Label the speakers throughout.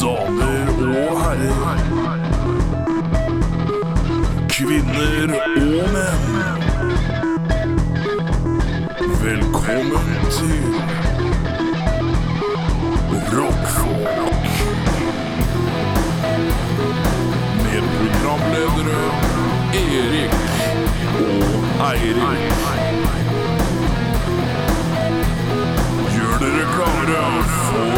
Speaker 1: Damer og herrer. Kvinner og menn. Velkommen til Rockfolk. Med programledere Erik og Eirik. Gjør dere klare for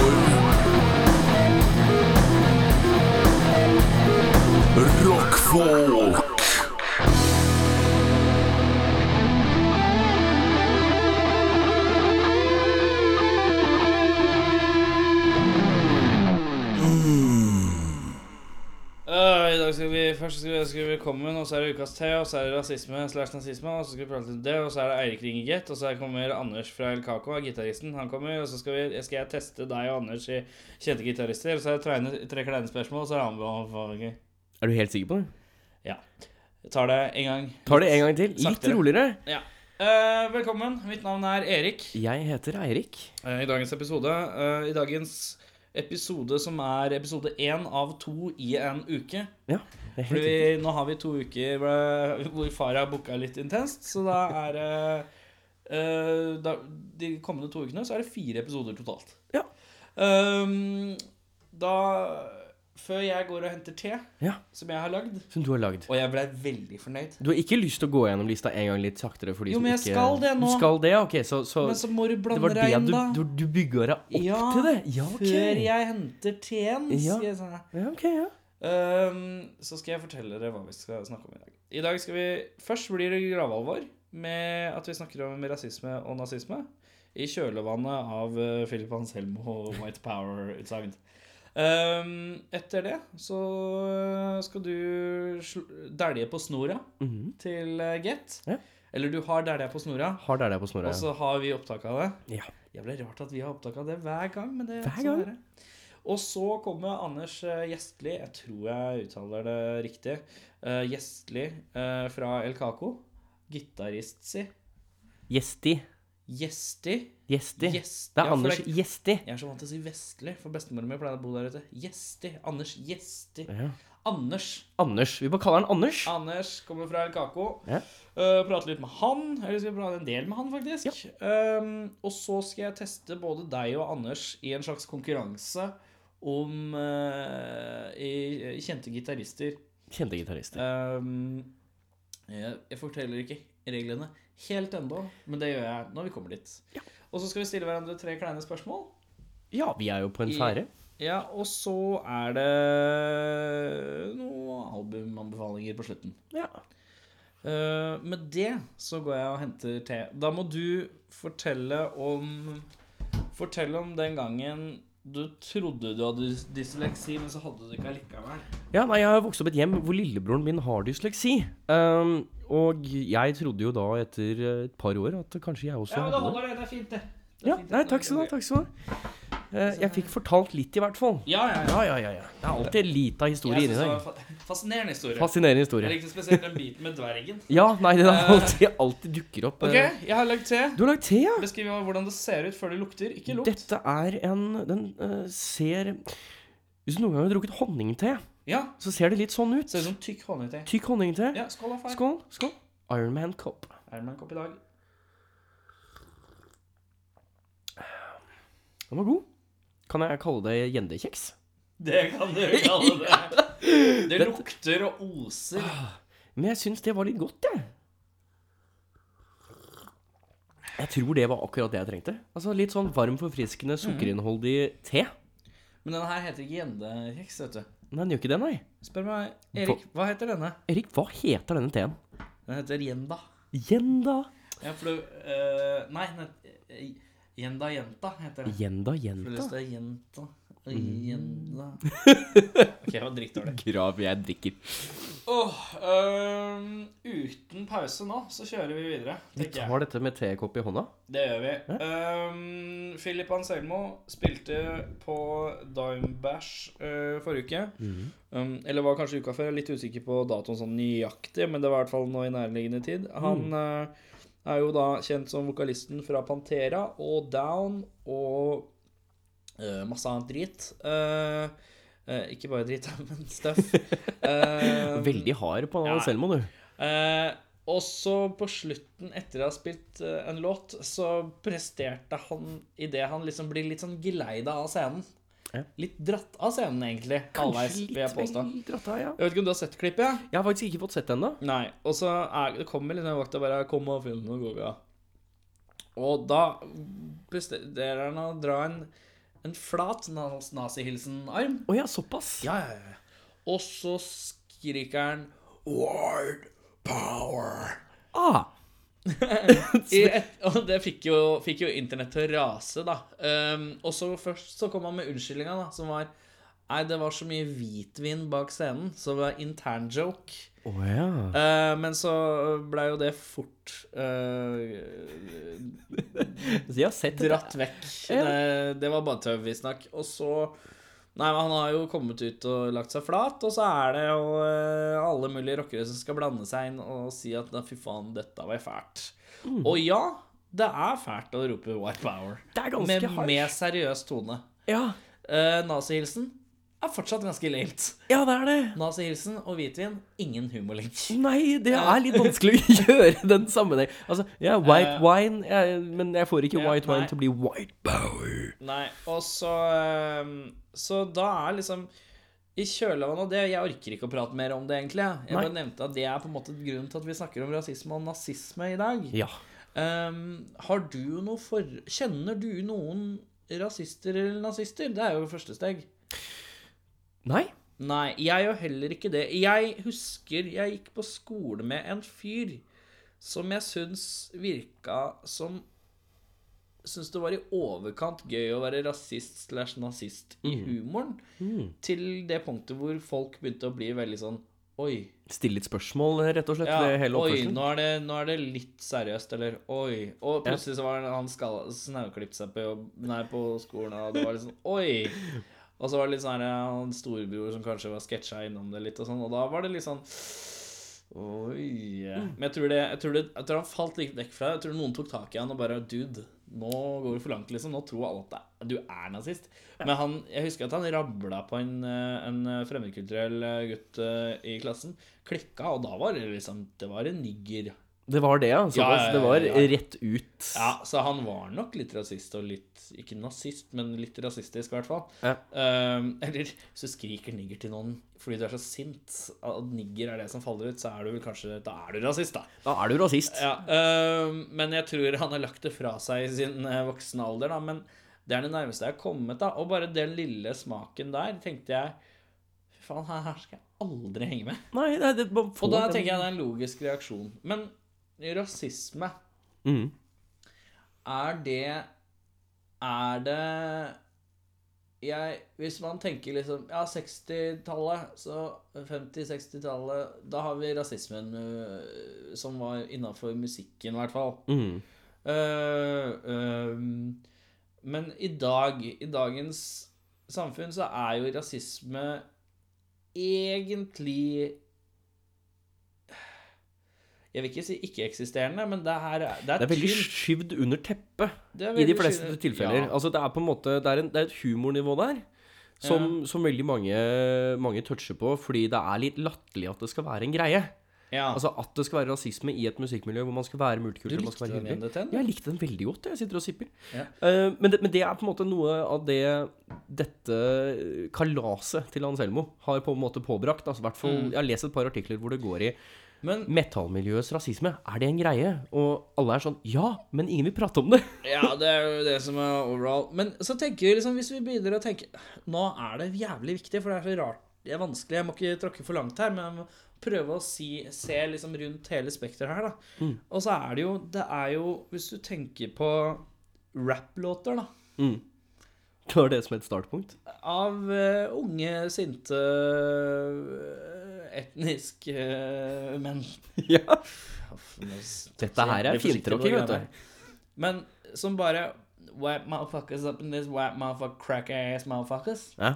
Speaker 1: Rockfolk.
Speaker 2: Øh, I dag skal vi først skal vi ønske velkommen, og så er det ukas te, og så er det rasisme slash nazisme, og så skal vi prate litt om det, og så er det Eirik ringer Get, og så her kommer Anders fra El Caco, er gitaristen, han kommer, og så skal, vi, skal jeg teste deg og Anders i kjente gitarister, og så er det tregne- tre kleine spørsmål, og så er han med for gøy.
Speaker 3: Er du helt sikker på det?
Speaker 2: Ja. Jeg tar det en gang.
Speaker 3: Tar det en gang til. Litt
Speaker 2: Saktere.
Speaker 3: roligere.
Speaker 2: Ja. Øh, velkommen, mitt navn er Erik.
Speaker 3: Jeg heter Eirik.
Speaker 2: Eh, I dagens episode, eh, i dagens episode som er episode 1 av 2 i en uke,
Speaker 3: Ja, det er helt
Speaker 2: Fordi
Speaker 3: riktig.
Speaker 2: vi, nå har vi to uker hvor eh, hvor far har booka litt intenst, så da er det eh, da, De kommende to ukene så er det fire episoder totalt.
Speaker 3: Ja.
Speaker 2: Ehm, da Før jeg går og henter te,
Speaker 3: Ja.
Speaker 2: som jeg har lagd
Speaker 3: Som du har lagd.
Speaker 2: Og jeg blei veldig fornøyd.
Speaker 3: Du har ikke lyst til å gå gjennom lista en gang litt saktere? For de
Speaker 2: Jo,
Speaker 3: som
Speaker 2: men jeg
Speaker 3: ikke...
Speaker 2: skal det nå.
Speaker 3: Du skal det, ja, ok. Så, så,
Speaker 2: Men så må du
Speaker 3: det
Speaker 2: blande
Speaker 3: var det
Speaker 2: deg inn,
Speaker 3: du,
Speaker 2: da.
Speaker 3: du, du bygga deg opp
Speaker 2: Ja,
Speaker 3: til det? Ja, ok.
Speaker 2: Før jeg henter teen,
Speaker 3: Ja.
Speaker 2: sier jeg sånn.
Speaker 3: Ja, ok, ja.
Speaker 2: Ehm, så skal jeg fortelle dere hva vi skal snakke om i dag. I dag skal vi Først blir det gravalvor med at vi snakker om rasisme og nazisme. I kjølvannet av eh, Philip Anselmo og White Power-utsagn. Ehm, etter det så eh, skal du sl- dælje på snora
Speaker 3: Mhm.
Speaker 2: til eh, Get.
Speaker 3: Ja.
Speaker 2: Eller du har dælja på snora,
Speaker 3: Har der deg på snora.
Speaker 2: og så har vi opptak av det.
Speaker 3: Ja.
Speaker 2: Jævlig rart at vi har opptak av det hver gang. men det er
Speaker 3: Hver
Speaker 2: sånn
Speaker 3: gang.
Speaker 2: er det. Og så kommer Anders eh, Gjestli, jeg tror jeg uttaler det riktig, eh, Gjestli eh, fra El Caco. Gitarist si.
Speaker 3: Gjesti.
Speaker 2: Gjesti.
Speaker 3: Gjesti.
Speaker 2: Gjest-
Speaker 3: Det
Speaker 2: ja,
Speaker 3: er
Speaker 2: for
Speaker 3: Anders
Speaker 2: det er-
Speaker 3: Gjesti.
Speaker 2: Jeg er så vant til å si Vestli, for bestemoren min pleide å bo der ute. Gjesti. Anders Gjesti.
Speaker 3: Ja.
Speaker 2: Anders.
Speaker 3: Anders. Vi bare kaller han Anders.
Speaker 2: Anders kommer fra El Caco.
Speaker 3: Ja.
Speaker 2: Eh, prate litt med han, eller skal vi prate en del med han, faktisk. Ehm, og så skal jeg teste både deg og Anders i en slags konkurranse om eh, i, i kjente gitarister.
Speaker 3: Kjente gitarister.
Speaker 2: Ehm, jeg, jeg forteller ikke reglene helt ennå, men det gjør jeg når vi kommer dit. Og så skal vi stille hverandre tre kleine spørsmål.
Speaker 3: Ja, vi er jo på en
Speaker 2: i-
Speaker 3: fære.
Speaker 2: Ja, og så er det noen albumanbefalinger på slutten.
Speaker 3: Ja.
Speaker 2: Eh, med det så går jeg og henter te. Da må du fortelle om Fortelle om den gangen du trodde du hadde dys- dysleksi, men så hadde du det ikke allikevel.
Speaker 3: Ja, nei, jeg har vokst opp i et hjem hvor lillebroren min har dysleksi. Ehm, og jeg trodde jo da etter eh, et par år at kanskje jeg også
Speaker 2: Ja, men da
Speaker 3: hadde det.
Speaker 2: holder det. Det er fint, det. Det er
Speaker 3: Ja,
Speaker 2: fint, det.
Speaker 3: nei, takk skal du ha. takk skal du ha. Eh, jeg fikk fortalt litt, i hvert fall.
Speaker 2: Ja, ja, ja.
Speaker 3: Ja, ja, ja. ja. Det er alltid en lita historie
Speaker 2: Jeg
Speaker 3: inni
Speaker 2: synes det var
Speaker 3: deg.
Speaker 2: fa- fascinerende historie.
Speaker 3: Fascinerende
Speaker 2: Jeg
Speaker 3: historie.
Speaker 2: likte spesielt den biten med dvergen.
Speaker 3: Ja, nei, det er alltid, alltid dukker opp.
Speaker 2: Eh. Ok,
Speaker 3: eh.
Speaker 2: jeg har lagd te.
Speaker 3: Du har lagd te, ja?
Speaker 2: Beskriv hvordan det ser ut før det lukter. Ikke lukt.
Speaker 3: Dette er en Den eh, ser Hvis du noen gang har drukket honningte,
Speaker 2: Ja,
Speaker 3: så ser det litt sånn ut.
Speaker 2: Ser ut som tykk honningte.
Speaker 3: Tykk honningte.
Speaker 2: Ja, skål, da, far.
Speaker 3: Skål. Skål. Ironman Cup.
Speaker 2: Er det meg en kopp i dag?
Speaker 3: Den var god. Kan jeg kalle det gjendekjeks?
Speaker 2: Det kan du kalle det. Det lukter og oser.
Speaker 3: Men jeg syns det var litt godt, jeg. Jeg tror det var akkurat det jeg trengte. Altså Litt sånn varm, forfriskende,
Speaker 2: Mhm.
Speaker 3: sukkerinnholdig te.
Speaker 2: Men denne her heter ikke gjendekjeks, vet du.
Speaker 3: Nei, den gjør ikke det, nei.
Speaker 2: Spør meg, Erik, hva heter denne?
Speaker 3: Erik, hva heter denne teen?
Speaker 2: Den heter gjenda.
Speaker 3: Gjenda.
Speaker 2: Ja, for du eh, Nei, den het- eh, gjenda jenta heter den.
Speaker 3: Gjenda,
Speaker 2: For det
Speaker 3: jenta.
Speaker 2: står jenta og gjenda Mm. OK, det var drittdårlig.
Speaker 3: Grav jeg drikker.
Speaker 2: Åh, øhm, uten pause nå, så kjører vi videre.
Speaker 3: Vi
Speaker 2: tenker jeg.
Speaker 3: tar dette med tekopp i hånda.
Speaker 2: Det gjør vi. Ehm, Philip Anselmo spilte på Dimebash eh, forrige uke. Um, eller var kanskje uka før. Jeg er litt usikker på datoen sånn nøyaktig, men det var i hvert fall nå i nærliggende tid. Han eh, er jo da kjent som vokalisten fra Pantera og Down og eh, masse annet drit. Eh, eh, ikke bare drit, men stuff. Eh,
Speaker 3: Veldig hard på
Speaker 2: Ja.
Speaker 3: Selma, du.
Speaker 2: Eh, og så på slutten, etter å ha spilt eh, en låt, så presterte han idet han liksom blir litt sånn geleida av scenen.
Speaker 3: Ja.
Speaker 2: Litt dratt av scenen, egentlig. Halvveis, vil jeg påstå.
Speaker 3: vel dratt av, ja.
Speaker 2: Jeg vet ikke om du har sett klippet? Ja?
Speaker 3: Jeg har faktisk ikke fått sett den ennå.
Speaker 2: Nei. Og så er, det kommer liksom en vakt og bare 'Kom og film noe goga'. Og da presterer han å dra en, en flat nas- nazihilsen-arm.
Speaker 3: Å ja, såpass?
Speaker 2: Ja, ja, ja, ja. Og så skriker han 'Ward power'.
Speaker 3: Ah,
Speaker 2: I et, og det fikk jo, fikk jo internett til å rase, da. Um, og så først så kom han med unnskyldninga, da, som var Nei, det var så mye hvitvin bak scenen, så det var intern joke.
Speaker 3: Å ja.
Speaker 2: Eh, men så blei jo det fort eh,
Speaker 3: Så jeg har sett det.
Speaker 2: dratt vekk. Det, det var bare tøv, visstnok. Og så Nei, men han har jo kommet ut og lagt seg flat, og så er det jo eh, alle mulige rockere som skal blande seg inn og si at «Nei, fy faen, dette var fælt. Og ja, det er fælt å rope white power.
Speaker 3: Mm. Det er ganske
Speaker 2: Med,
Speaker 3: hardt.
Speaker 2: med seriøs tone.
Speaker 3: Ja.
Speaker 2: Eh, Nazihilsen er fortsatt ganske lamet.
Speaker 3: ja, det er det.
Speaker 2: Nazihilsen og hvitvin, ingen humorlink.
Speaker 3: Nei, det er litt vanskelig å gjøre den sammenheng. Altså, jeg er white
Speaker 2: Eh,
Speaker 3: wine, jeg, men jeg får ikke
Speaker 2: ja,
Speaker 3: white
Speaker 2: nei.
Speaker 3: wine til å bli white power.
Speaker 2: Nei, og så ehm, Så da er liksom I kjølvannet av det Jeg orker ikke å prate mer om det, egentlig. Jeg Jeg
Speaker 3: Nei.
Speaker 2: bare nevnte at det er på en måte grunnen til at vi snakker om rasisme og nazisme i dag.
Speaker 3: Ja.
Speaker 2: Ehm, har du noe for... Kjenner du noen rasister eller nazister? Det er jo første steg.
Speaker 3: Nei?
Speaker 2: Nei, jeg gjør heller ikke det. Jeg husker jeg gikk på skole med en fyr som jeg syns virka som Syns det var i overkant gøy å være rasist slash nazist i humoren. Til det punktet hvor folk begynte å bli veldig sånn Oi.
Speaker 3: Stille litt spørsmål, rett og slett,
Speaker 2: Ja,
Speaker 3: ved hele
Speaker 2: oi,
Speaker 3: oppførselen.
Speaker 2: nå er, det, nå er det litt seriøst, eller oi. Og plutselig så var det han skal- snauklippet seg på, jobb, nei, på skolen, og det var litt sånn oi. Og så var det litt sånn her, han storebror som kanskje var sketsja innom det litt, og sånn, og da var det litt sånn Oi. Men jeg tror, det, jeg, tror det, jeg tror han falt litt vekk fra det. Jeg tror noen tok tak i han og bare Dude, nå går du for langt, liksom. Nå tror alle at det er- du er nazist. Men han, jeg husker at han rabla på en, eh, en fremmedkulturell eh, gutt eh, i klassen. Klikka, og da var det liksom Det var en nigger.
Speaker 3: Det var det, ja.
Speaker 2: Ja,
Speaker 3: Såpass.
Speaker 2: ja, ja,
Speaker 3: Det var
Speaker 2: ja, ja.
Speaker 3: rett ut.
Speaker 2: Ja, så han var nok litt rasist, og litt Ikke nazist, men litt rasistisk, i hvert fall.
Speaker 3: Ja.
Speaker 2: Ehm, eller hvis du skriker nigger til noen fordi du er så sint at nigger er det som faller ut, så er du vel kanskje Da er du rasist, da.
Speaker 3: Da er du rasist.
Speaker 2: Ja, øhm, men jeg tror han har lagt det fra seg i sin eh, voksne alder, da. Men det er det nærmeste jeg har kommet, da. Og bare den lille smaken der, tenkte jeg Fy faen, her, her skal jeg aldri henge med.
Speaker 3: Nei, nei, det man får
Speaker 2: Og da
Speaker 3: den-
Speaker 2: tenker jeg det er en logisk reaksjon. Men rasisme,
Speaker 3: Mhm.
Speaker 2: er det Er det jeg, hvis man tenker liksom Ja, 60-tallet, så 50-60-tallet Da har vi rasismen øh, som var innafor musikken, i hvert fall.
Speaker 3: Mhm.
Speaker 2: Eh, ehm, men i dag, i dagens samfunn, så er jo rasisme egentlig Jeg vil ikke si ikke-eksisterende, men det her er Det er,
Speaker 3: Det er veldig
Speaker 2: tynt.
Speaker 3: skyvd under teppet
Speaker 2: Det er
Speaker 3: i de
Speaker 2: veldig
Speaker 3: fleste
Speaker 2: skyld-
Speaker 3: tilfeller.
Speaker 2: Ja.
Speaker 3: Altså, det er på en måte Det er, en, det er et humornivå der som, som veldig mange, mange toucher på, fordi det er litt latterlig at det skal være en greie.
Speaker 2: ja.
Speaker 3: Altså At det skal være rasisme i et musikkmiljø hvor man skal være
Speaker 2: du
Speaker 3: multikulturell. man
Speaker 2: likte
Speaker 3: skal
Speaker 2: den
Speaker 3: være hyggelig.
Speaker 2: endetenn?
Speaker 3: Jeg likte den veldig godt. Jeg sitter og sipper.
Speaker 2: Ja.
Speaker 3: Eh, men, det, men det er på en måte noe av det dette kalaset til Anselmo har på en måte påbrakt. Altså, hvert fall, Jeg har lest et par artikler hvor det går i
Speaker 2: Mm. Men
Speaker 3: metallmiljøets rasisme. Er det en greie? Og alle er sånn Ja, men ingen vil prate om det.
Speaker 2: Ja, det er jo det som er overall. Men så tenker vi liksom, hvis vi begynner å tenke Nå er det jævlig viktig, for det er så rart Det er vanskelig. Jeg må ikke tråkke for langt her, men jeg må prøve å si, se liksom rundt hele spekteret her, da. Og så er det jo Det er jo Hvis du tenker på rapplåter, da.
Speaker 3: Det var det som et startpunkt.
Speaker 2: Av eh, unge, sinte eh, Etnisk eh, menn.
Speaker 3: Ja.
Speaker 2: Dette
Speaker 3: Dette her er fintråkking, vet du.
Speaker 2: Men som bare White motherfuckers up in this white motherfucker crack ass motherfuckers.
Speaker 3: Ja.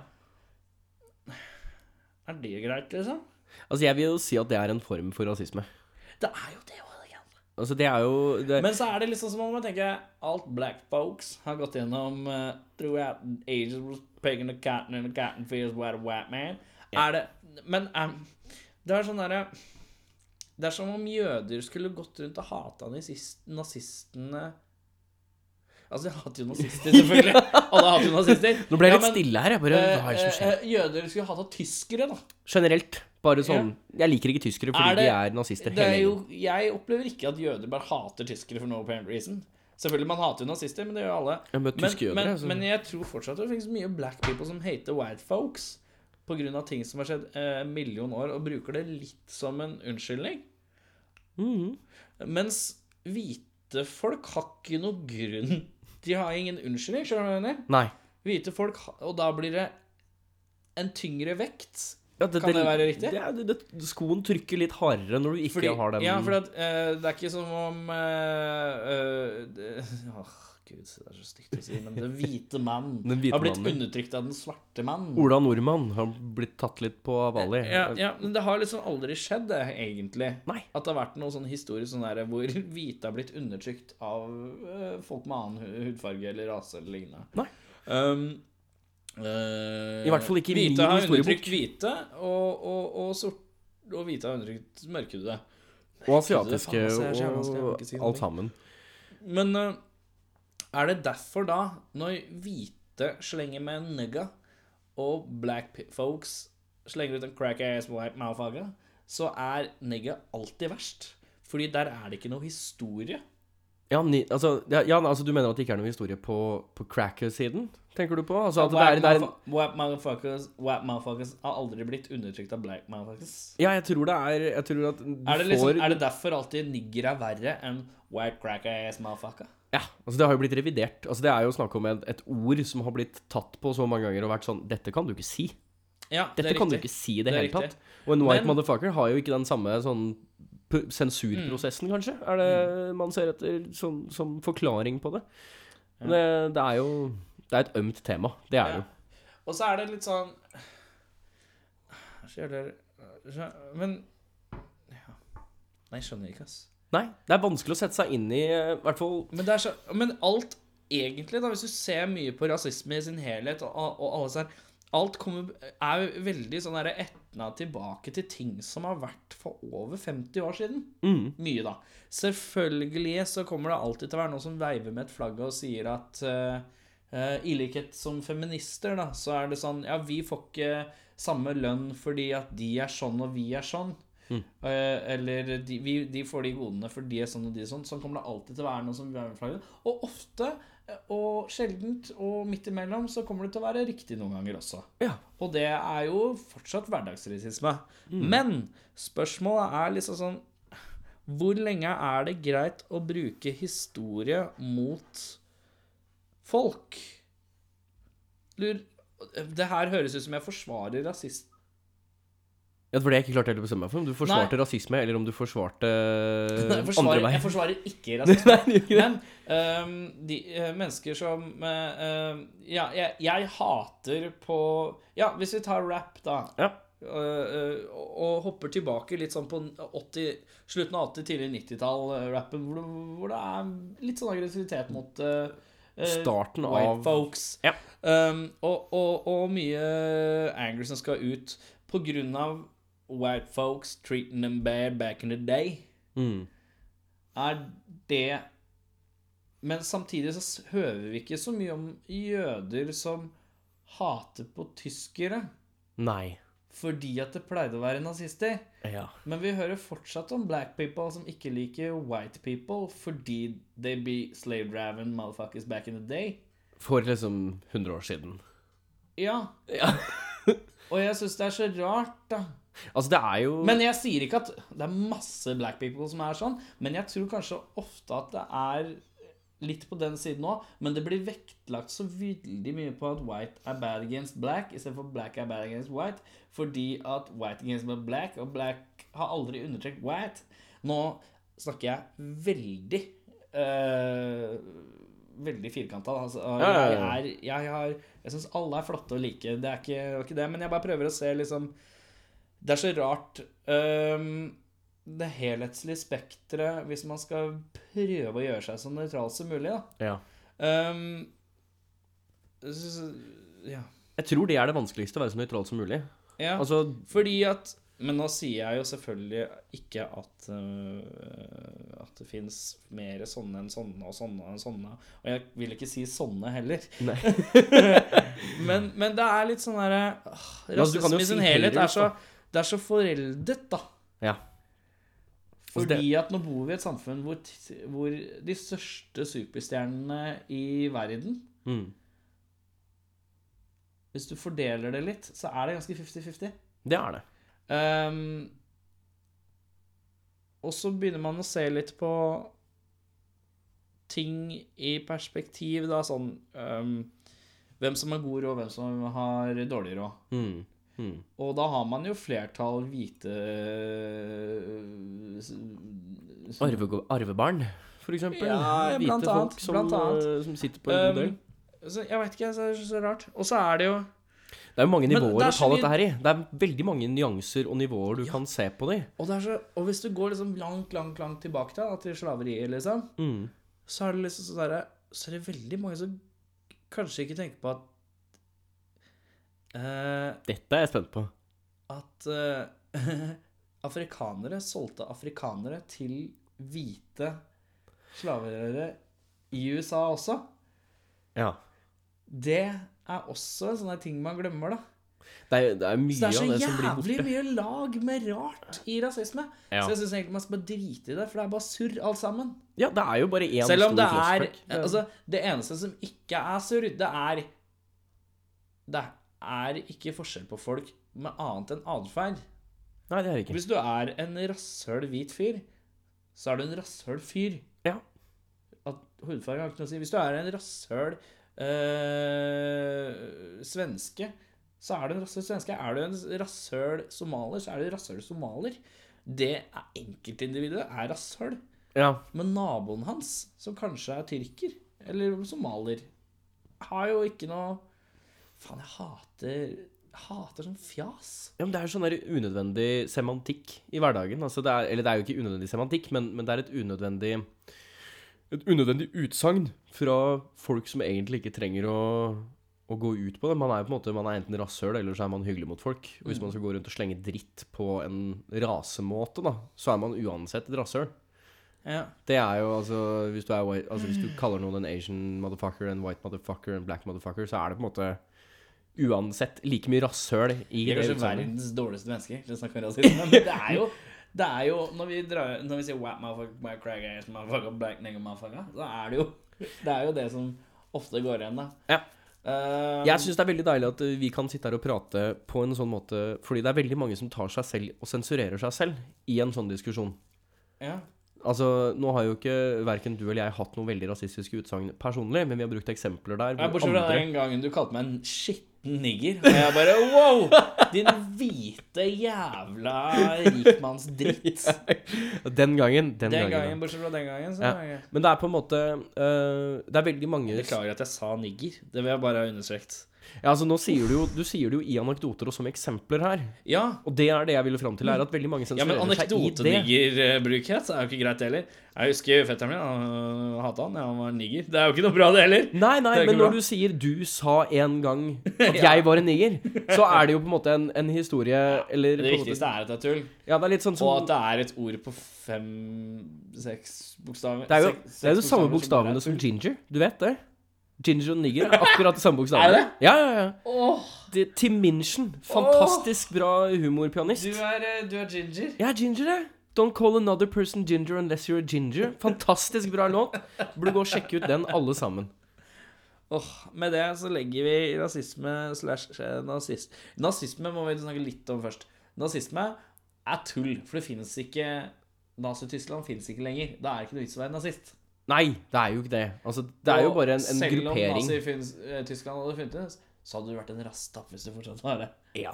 Speaker 2: Er det greit, liksom?
Speaker 3: Altså, jeg vil jo si at det er en form for rasisme.
Speaker 2: Det er jo det, William.
Speaker 3: Altså, det er jo det,
Speaker 2: Men så er det liksom som om jeg tenker alt black folks har gått gjennom eh, throughout ages was picking the cotton and the cotton fields where the white man. Er det Men em, det er sånn derre Det er som om jøder skulle gått rundt og hata nazist, nazistene Altså, de hater jo nazister, selvfølgelig. Alle hater jo nazister.
Speaker 3: Nå ble jeg
Speaker 2: Ja,
Speaker 3: litt
Speaker 2: men,
Speaker 3: stille her. Jeg bare,
Speaker 2: eh,
Speaker 3: hva er det som skjer?
Speaker 2: eh, jøder skulle hata tyskere, da.
Speaker 3: Generelt. Bare sånn Jeg liker ikke tyskere fordi
Speaker 2: Er det-
Speaker 3: de er nazister
Speaker 2: Det
Speaker 3: hele
Speaker 2: er jo,
Speaker 3: tiden.
Speaker 2: jeg opplever ikke at jøder bare hater tyskere for no apparent reason. Selvfølgelig, man hater jo nazister, men det gjør jo alle.
Speaker 3: Jeg har møtt
Speaker 2: Men,
Speaker 3: tyske jøder,
Speaker 2: men,
Speaker 3: altså.
Speaker 2: men jeg tror fortsatt det finnes mye black people som hater white folks pga. ting som har skjedd eh, en million år, og bruker det litt som en unnskyldning.
Speaker 3: Mhm.
Speaker 2: Mens hvite folk har ikke noe grunn De har ingen unnskyldning, skjønner du hva jeg mener?
Speaker 3: Nei.
Speaker 2: Hvite folk, ha- og da blir det en tyngre vekt.
Speaker 3: Ja,
Speaker 2: Kan det være riktig?
Speaker 3: Det, er- det, det, skoen trykker litt hardere når du ikke
Speaker 2: Fordi,
Speaker 3: har den
Speaker 2: Ja, for at, eh, det er ikke som om eh, eh, det- Åh, Gud, det er så stygt å si, men den hvite mann
Speaker 3: Den hvite
Speaker 2: har blitt
Speaker 3: mannen.
Speaker 2: undertrykt av den svarte mann.
Speaker 3: Ola Nordmann har blitt tatt litt på Bali.
Speaker 2: Ja, ja, men det har liksom aldri skjedd, det, egentlig.
Speaker 3: Nei.
Speaker 2: At det har vært noe sånn historie sånn der, hvor hvite har blitt undertrykt av eh, folk med annen hu- hudfarge eller rase eller lignende.
Speaker 3: Nei.
Speaker 2: Um, eh,
Speaker 3: I hvert fall ikke i min
Speaker 2: Hvite har
Speaker 3: historiebok.
Speaker 2: undertrykt hvite, og, og, og, sort, og hvite har undertrykt mørkhudede.
Speaker 3: Og
Speaker 2: Faen,
Speaker 3: asiatiske
Speaker 2: altså, jeg er så jævla vanskelig, jeg kan
Speaker 3: og
Speaker 2: ikke si noe.
Speaker 3: alt sammen.
Speaker 2: Men eh, er det derfor da, når hvite slenger med en nugga, og black p- folks slenger ut en crack-ass white mouthhaga, så er nugga alltid verst? Fordi der er det ikke noe historie.
Speaker 3: Ja, ni, altså, ja, ja, altså, du mener at det ikke er noe historie på, på cracker-siden? Tenker du på? Altså, at det er,
Speaker 2: White,
Speaker 3: det er,
Speaker 2: mouthfa- white, motherfuckers, white motherfuckers har aldri blitt undertrykt av black motherfuckers.
Speaker 3: ja, jeg tror det er Jeg tror at du
Speaker 2: Er det, liksom,
Speaker 3: får
Speaker 2: er det derfor alltid nigger er verre enn white crack-ass motherfucker?
Speaker 3: Ja, altså Det har jo blitt revidert. Altså Det er jo snakk om et, et ord som har blitt tatt på så mange ganger og vært sånn Dette kan du ikke si.
Speaker 2: Ja, det
Speaker 3: Dette
Speaker 2: er
Speaker 3: kan du
Speaker 2: riktig.
Speaker 3: ikke si i det,
Speaker 2: Det er
Speaker 3: hele
Speaker 2: riktig.
Speaker 3: tatt. Og en white
Speaker 2: Men-
Speaker 3: motherfucker har jo ikke den samme sånn p- sensurprosessen, kanskje, er det
Speaker 2: Mm.
Speaker 3: man ser etter som, som forklaring på det. Men Det, det er jo Det er et ømt tema. Det er det jo.
Speaker 2: Ja. Og så er det litt sånn Så gjør det- så- Men ja. Nei, jeg skjønner ikke, ass.
Speaker 3: Nei, det er vanskelig å sette seg inn i, eh, i hvert fall
Speaker 2: Men, det er så, men alt egentlig, da, hvis du ser mye på rasisme i sin helhet og, og alle sånn Alt kommer, er jo veldig sånn der etna tilbake til ting som har vært for over 50 år siden. Mye, da. Selvfølgelig så kommer det alltid til å være noen som veiver med et flagg og sier at eh, Eh, I likhet som feminister, da, så er det sånn Ja, vi får ikke samme lønn fordi at de er sånn og vi er sånn. Eh, eller de, vi, de får de godene for de er sånn og de er sånn. Sånn kommer det alltid til å være noe som vil være med flagget. Og ofte, eh, og sjeldent, og midt imellom, så kommer det til å være riktig noen ganger også.
Speaker 3: Ja.
Speaker 2: Og det er jo fortsatt hverdagsrasisme. Men spørsmålet er liksom sånn Hvor lenge er det greit å bruke historie mot folk Lur, Det her høres ut som jeg forsvarer rasist...
Speaker 3: Ja, for det jeg ikke klarte helt å bestemme meg for. Om du forsvarte rasisme, eller om du forsvarte
Speaker 2: Jeg
Speaker 3: Eh, andre
Speaker 2: forsvarer, jeg
Speaker 3: veien.
Speaker 2: forsvarer ikke rasisme.
Speaker 3: Nei, du gjør ikke det.
Speaker 2: Men øhm, de øh, mennesker som øh, øhm, Ja, jeg, jeg hater på Ja, hvis vi tar rap, da.
Speaker 3: Ja.
Speaker 2: øh, øh, og, og hopper tilbake litt sånn på 80, slutten av 80-, tidlig 90-tall-rappen, hvor, det- hvor det er litt sånn aggressivitet mot øh, øh,
Speaker 3: Starten
Speaker 2: white
Speaker 3: av
Speaker 2: folks.
Speaker 3: Ja.
Speaker 2: Um, og, og, og mye anger som skal ut på grunn av white folks treating them bad back in the day.
Speaker 3: Mm.
Speaker 2: Er det Men samtidig så s- hører vi ikke så mye om jøder som hater på tyskere
Speaker 3: Nei.
Speaker 2: fordi at det pleide å være nazister.
Speaker 3: Ja.
Speaker 2: Men vi hører fortsatt om black people som ikke liker white people fordi they be slave-draven motherfuckers back in the day.
Speaker 3: For liksom 100 år siden.
Speaker 2: Ja.
Speaker 3: Ja.
Speaker 2: Og jeg syns det er så rart, da.
Speaker 3: Altså, det er jo
Speaker 2: Men jeg sier ikke at det er masse black people som er sånn, men jeg tror kanskje ofte at det er litt på den siden òg, men det blir vektlagt så veldig mye på at white er bad against black istedenfor black er bad against white, fordi at white against black og black har aldri undertrykt white. Nå snakker jeg veldig eh, Veldig firkanta. Altså,
Speaker 3: ja,
Speaker 2: jeg,
Speaker 3: ja.
Speaker 2: er, jeg, har- jeg syns alle er flotte og like, det er ikke, det er ikke det, men jeg bare prøver å se liksom det er så rart øhm, det helhetslige spekteret hvis man skal prøve å gjøre seg så nøytral som mulig, da.
Speaker 3: Ja.
Speaker 2: Ehm, jeg synes- ja.
Speaker 3: Jeg tror det er det vanskeligste, å være så nøytral som mulig.
Speaker 2: ja.
Speaker 3: Altså,
Speaker 2: Fordi at Men nå sier jeg jo selvfølgelig ikke at øh, At det fins mer sånne enn sånne og sånne enn sånne. Og jeg vil ikke si sånne heller.
Speaker 3: Nei.
Speaker 2: men, men det er litt sånn derre åh,
Speaker 3: Ja, altså, du kan
Speaker 2: Rasisme
Speaker 3: jo
Speaker 2: i sin
Speaker 3: si
Speaker 2: helhet er
Speaker 3: Hellas,
Speaker 2: så,
Speaker 3: da.
Speaker 2: det er så foreldet, da.
Speaker 3: ja. Altså, det-
Speaker 2: Fordi at nå bor vi i et samfunn hvor, t- hvor de største superstjernene i verden
Speaker 3: Mm.
Speaker 2: Hvis du fordeler det litt, så er det ganske 50-50.
Speaker 3: Det er det.
Speaker 2: Ehm, og så begynner man å se litt på ting i perspektiv, da, sånn ehm, Hvem som har god råd, hvem som har dårlig råd.
Speaker 3: Mm. Mm.
Speaker 2: Og da har man jo flertall hvite øh, s- s-
Speaker 3: Arve, arvebarn, for eksempel.
Speaker 2: Ja,
Speaker 3: Hvite
Speaker 2: blant annet,
Speaker 3: folk som,
Speaker 2: blant annet.
Speaker 3: eh, som sitter på en god del.
Speaker 2: Ehm, så Jeg veit ikke, så er det så rart. Og så er det jo
Speaker 3: Det er jo mange
Speaker 2: men det
Speaker 3: nivåer
Speaker 2: er
Speaker 3: å
Speaker 2: så
Speaker 3: ta
Speaker 2: mye-
Speaker 3: dette her i. Det er veldig mange nyanser og nivåer du kan se på det i.
Speaker 2: Og, det er så, og hvis du går liksom langt, langt langt tilbake da, til slaveriet, liksom,
Speaker 3: Mm.
Speaker 2: så er det liksom sånn derre Så er det veldig mange som kanskje ikke tenker på at eh,
Speaker 3: Dette er jeg spent på.
Speaker 2: At eh, afrikanere solgte afrikanere til hvite slavegjørere i USA også.
Speaker 3: Ja.
Speaker 2: Det er også sånne ting man glemmer, da.
Speaker 3: Det er, det er mye
Speaker 2: Så det
Speaker 3: av det
Speaker 2: er så
Speaker 3: som blir
Speaker 2: jævlig
Speaker 3: borte.
Speaker 2: mye lag med rart i rasisme.
Speaker 3: Ja.
Speaker 2: Så jeg syns egentlig man skal bare drite i det, for det er bare surr alt sammen.
Speaker 3: Ja, det er jo bare én
Speaker 2: Selv om det er
Speaker 3: clusterfuck. Det er-
Speaker 2: altså, Det eneste som ikke er surr, det er Det er ikke forskjell på folk med annet enn atferd.
Speaker 3: Nei, det er det ikke.
Speaker 2: Hvis du er en rasshøl hvit fyr, så er du en rasshøl fyr.
Speaker 3: Ja.
Speaker 2: At hudfarge har ikke noe å si. Hvis du er en rasshøl eh, svenske, så er du en rasshøl svenske. Er du en rasshøl somalier, så er du en rasshøl somalier. Det er enkeltindividet er rasshøl.
Speaker 3: Ja.
Speaker 2: Men naboen hans, som kanskje er tyrker, eller somalier, har jo ikke noe Faen, jeg hater Hater sånn fjas.
Speaker 3: ja, men det er jo sånn der unødvendig semantikk i hverdagen. Altså, det er, eller det er jo ikke unødvendig semantikk, men, men det er et unødvendig Et unødvendig utsagn fra folk som egentlig ikke trenger å å gå ut på det. Man er jo på en måte, man er enten rasshøl, eller så er man hyggelig mot folk.
Speaker 2: Mm.
Speaker 3: Og hvis man skal gå rundt og slenge dritt på en rasemåte, da, så er man uansett et rasshøl.
Speaker 2: Ja.
Speaker 3: Det er jo altså hvis, du er white, altså hvis du
Speaker 2: Mm.
Speaker 3: kaller noen en Asian motherfucker, en white motherfucker, en black motherfucker, så er det på en måte uansett like mye rasshøl i
Speaker 2: Vi
Speaker 3: det
Speaker 2: er kanskje
Speaker 3: sånn- utsagnet.
Speaker 2: verdens dårligste mennesker til å snakke om rasisme, men det er jo det er jo, Når vi, drar, når vi sier wap, motherfucker, black, crack, ass, motherfucker, black, nigger, motherfucker, så er det jo det er jo det som ofte går igjen, da.
Speaker 3: Ja.
Speaker 2: Eh,
Speaker 3: Jeg syns det er veldig deilig at eh, vi kan sitte her og prate på en sånn måte, fordi det er veldig mange som tar seg selv og sensurerer seg selv i en sånn diskusjon.
Speaker 2: ja.
Speaker 3: Altså, Nå har jo ikke verken du eller jeg hatt noen veldig rasistiske utsagn personlig, men vi har brukt eksempler der
Speaker 2: Ja,
Speaker 3: hvor
Speaker 2: Bortsett fra
Speaker 3: andre
Speaker 2: den gangen du kalte meg en skitten nigger. Og jeg bare wow! Din hvite jævla rikmannsdritt.
Speaker 3: Den gangen, den,
Speaker 2: Den
Speaker 3: gangen.
Speaker 2: gangen, bortsett fra den gangen, så
Speaker 3: Ja.
Speaker 2: er jeg-
Speaker 3: ja. Men det er på en måte eh, Det er veldig mange
Speaker 2: Beklager at jeg sa nigger. Det vil jeg bare ha understreket.
Speaker 3: Ja, altså nå sier du jo Du sier det jo i anekdoter og som eksempler her.
Speaker 2: Ja,
Speaker 3: Og det er det jeg ville fram til, er at veldig mange
Speaker 2: Ja, men eh,
Speaker 3: sensurerer seg i det.
Speaker 2: anekdoteniggerbrukhet er jo ikke greit heller. Jeg husker fetteren min, han hata han, ja, han var nigger. Det er jo ikke noe bra det heller.
Speaker 3: Nei, nei,
Speaker 2: Det er ikke
Speaker 3: men når
Speaker 2: bra.
Speaker 3: du sier 'du sa en gang at jeg var en niger', så er det jo på en måte en, en historie eller
Speaker 2: Det
Speaker 3: på en
Speaker 2: viktigste er at det er tull,
Speaker 3: måte, Ja, det er litt sånn
Speaker 2: og
Speaker 3: som
Speaker 2: at det er et ord på fem, seks bokstaver.
Speaker 3: Det er jo,
Speaker 2: Seks-
Speaker 3: det er jo de
Speaker 2: seks
Speaker 3: samme
Speaker 2: som bare
Speaker 3: bokstavene
Speaker 2: er
Speaker 3: som
Speaker 2: tull.
Speaker 3: ginger. Du vet det? Ginger og nigger er akkurat de samme bokstavene.
Speaker 2: Er det?
Speaker 3: Ja, ja, ja.
Speaker 2: Åh,
Speaker 3: Det, Tim Minchin. Fantastisk bra humorpianist.
Speaker 2: du er, eh, du er ginger.
Speaker 3: Jeg er ginger, jeg. Don't call another person ginger unless you're a ginger. Fantastisk bra låt. Burde gå og sjekke ut den, alle sammen.
Speaker 2: Åh, Med det så legger vi rasisme slash eh, nazist. Nazisme må vi snakke litt om først. Nazisme er tull, for det fins ikke Nazi-Tyskland fins ikke lenger. Da er det ikke noe vits å være nazist.
Speaker 3: Nei, det er jo ikke det. Altså, det er jo
Speaker 2: Og
Speaker 3: bare en, en
Speaker 2: Selv om
Speaker 3: gruppering.
Speaker 2: Nazi-Tyskland hadde funnet det, så hadde du vært en rastapp hvis du fortsatt var det.
Speaker 3: Ja.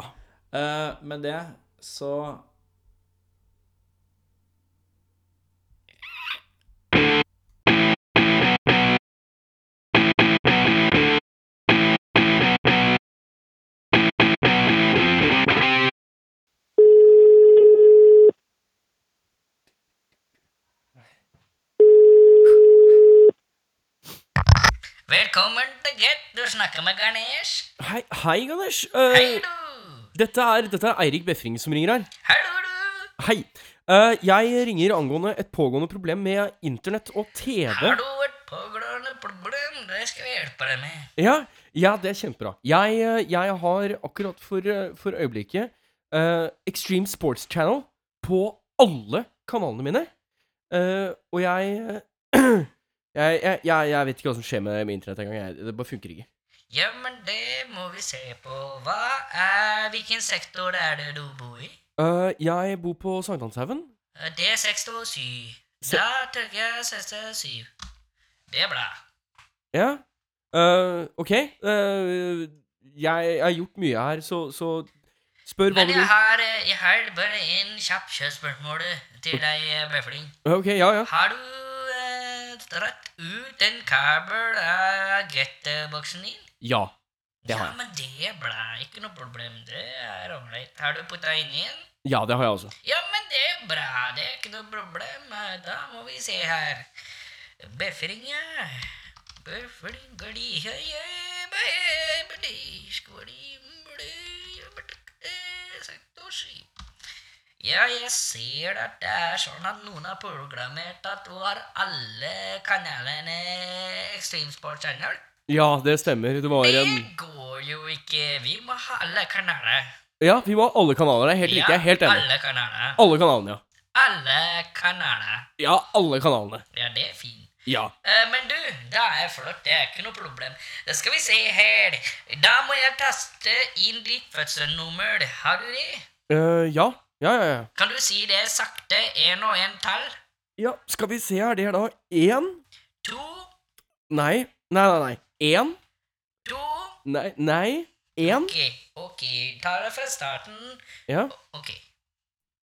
Speaker 2: Eh, med det så
Speaker 4: Velkommen til Get. Du snakker med Ganesh.
Speaker 3: Hei, hei Ganesh.
Speaker 4: Hei,
Speaker 3: Eh,
Speaker 4: du.
Speaker 3: dette, er, dette er Eirik Befring som ringer her.
Speaker 4: Hallo, du.
Speaker 3: Hei. Eh, jeg ringer angående et pågående problem med internett og TV.
Speaker 4: Har du et pågående problem? Det skal vi hjelpe deg med.
Speaker 3: Ja, ja det er kjempebra. Jeg, eh, jeg har akkurat for, eh, for øyeblikket eh, Extreme Sports Channel på alle kanalene mine. Eh, og jeg, jeg, jeg, jeg Jeg vet ikke hva som skjer med, med internett engang. jeg. Det bare funker ikke.
Speaker 4: Ja, men det må vi se på. Hva er Hvilken sektor er det du bor i?
Speaker 3: Eh, jeg bor på Sankthanshaugen.
Speaker 4: Eh, Det er sektor syv. Da trykker jeg sektor syv. Det er bra.
Speaker 3: Ja. Eh, OK. Eh, jeg, jeg har gjort mye her, så, så spør hva
Speaker 4: Men
Speaker 3: du
Speaker 4: jeg
Speaker 3: vil.
Speaker 4: har, eh, jeg har bare en kjapp kjøpspørsmål til deg, eh, Befling.
Speaker 3: OK, ja, ja.
Speaker 4: Har du eh, dratt ut en kabel av get-boksen din?
Speaker 3: Ja. Det
Speaker 4: ja,
Speaker 3: har jeg.
Speaker 4: men det er bra. Ikke noe problem. Det er ålreit. Har du putta inn igjen?
Speaker 3: Ja, det har jeg altså.
Speaker 4: Ja, men det er bra. Det er ikke noe problem. Da må vi se her. Befringa. Befring gli, høy, høy, bæ, bli, skvli, bli, bli, sekt og sky. Ja, jeg ser at det er sånn at noen har programmert at du har alle kanalene Extreme Sport Channel.
Speaker 3: Ja, det stemmer. Det var en
Speaker 4: Det går jo ikke. Vi må ha alle kanaler.
Speaker 3: Ja, vi må ha alle kanaler. Det er helt riktig. Jeg er helt
Speaker 4: Ja,
Speaker 3: enig.
Speaker 4: alle kanaler.
Speaker 3: Alle kanalene, ja.
Speaker 4: Alle kanaler.
Speaker 3: Ja, alle kanalene.
Speaker 4: Ja, det er fint.
Speaker 3: Ja.
Speaker 4: Eh, men du, det er flott. Det er ikke noe problem. Da skal vi se her. Da må jeg taste inn ditt fødselsnummer. Har du det?
Speaker 3: Eh, ja. Ja, ja, ja.
Speaker 4: Kan du si det sakte? Én og én tall?
Speaker 3: Ja, skal vi se her. Det er da én
Speaker 4: To,
Speaker 3: Nei. Nei, nei, nei. Én.
Speaker 4: to
Speaker 3: Nei. Nei. Én.
Speaker 4: Ok, ok. Ta det fra starten.
Speaker 3: Ja.
Speaker 4: Ok.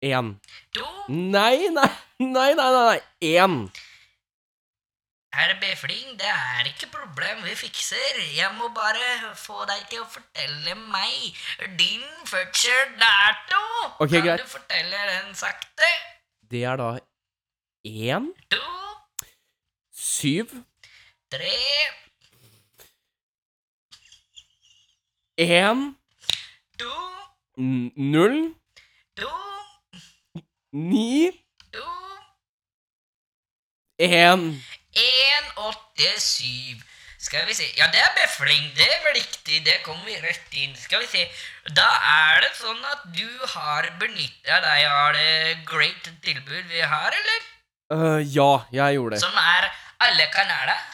Speaker 3: Én.
Speaker 4: To
Speaker 3: Nei, nei, nei, nei, nei. nei. Én.
Speaker 4: Herre Befling, det er ikke problem vi fikser. Jeg må bare få deg til å fortelle meg din fødselsdato.
Speaker 3: Ok,
Speaker 4: kan
Speaker 3: greit.
Speaker 4: du fortelle den sakte?
Speaker 3: Det er da én,
Speaker 4: To,
Speaker 3: syv,
Speaker 4: tre,
Speaker 3: én,
Speaker 4: to,
Speaker 3: n- null,
Speaker 4: to,
Speaker 3: ni,
Speaker 4: to,
Speaker 3: én.
Speaker 4: en, åtte, syv. Skal vi se. Ja, det er befling. Det er vel riktig. Det kommer vi rett inn. Skal vi se. Da er det sånn at du har benytta deg av det great tilbud vi har, eller?
Speaker 3: Eh, ja, jeg gjorde det.
Speaker 4: Som er alle kanaler.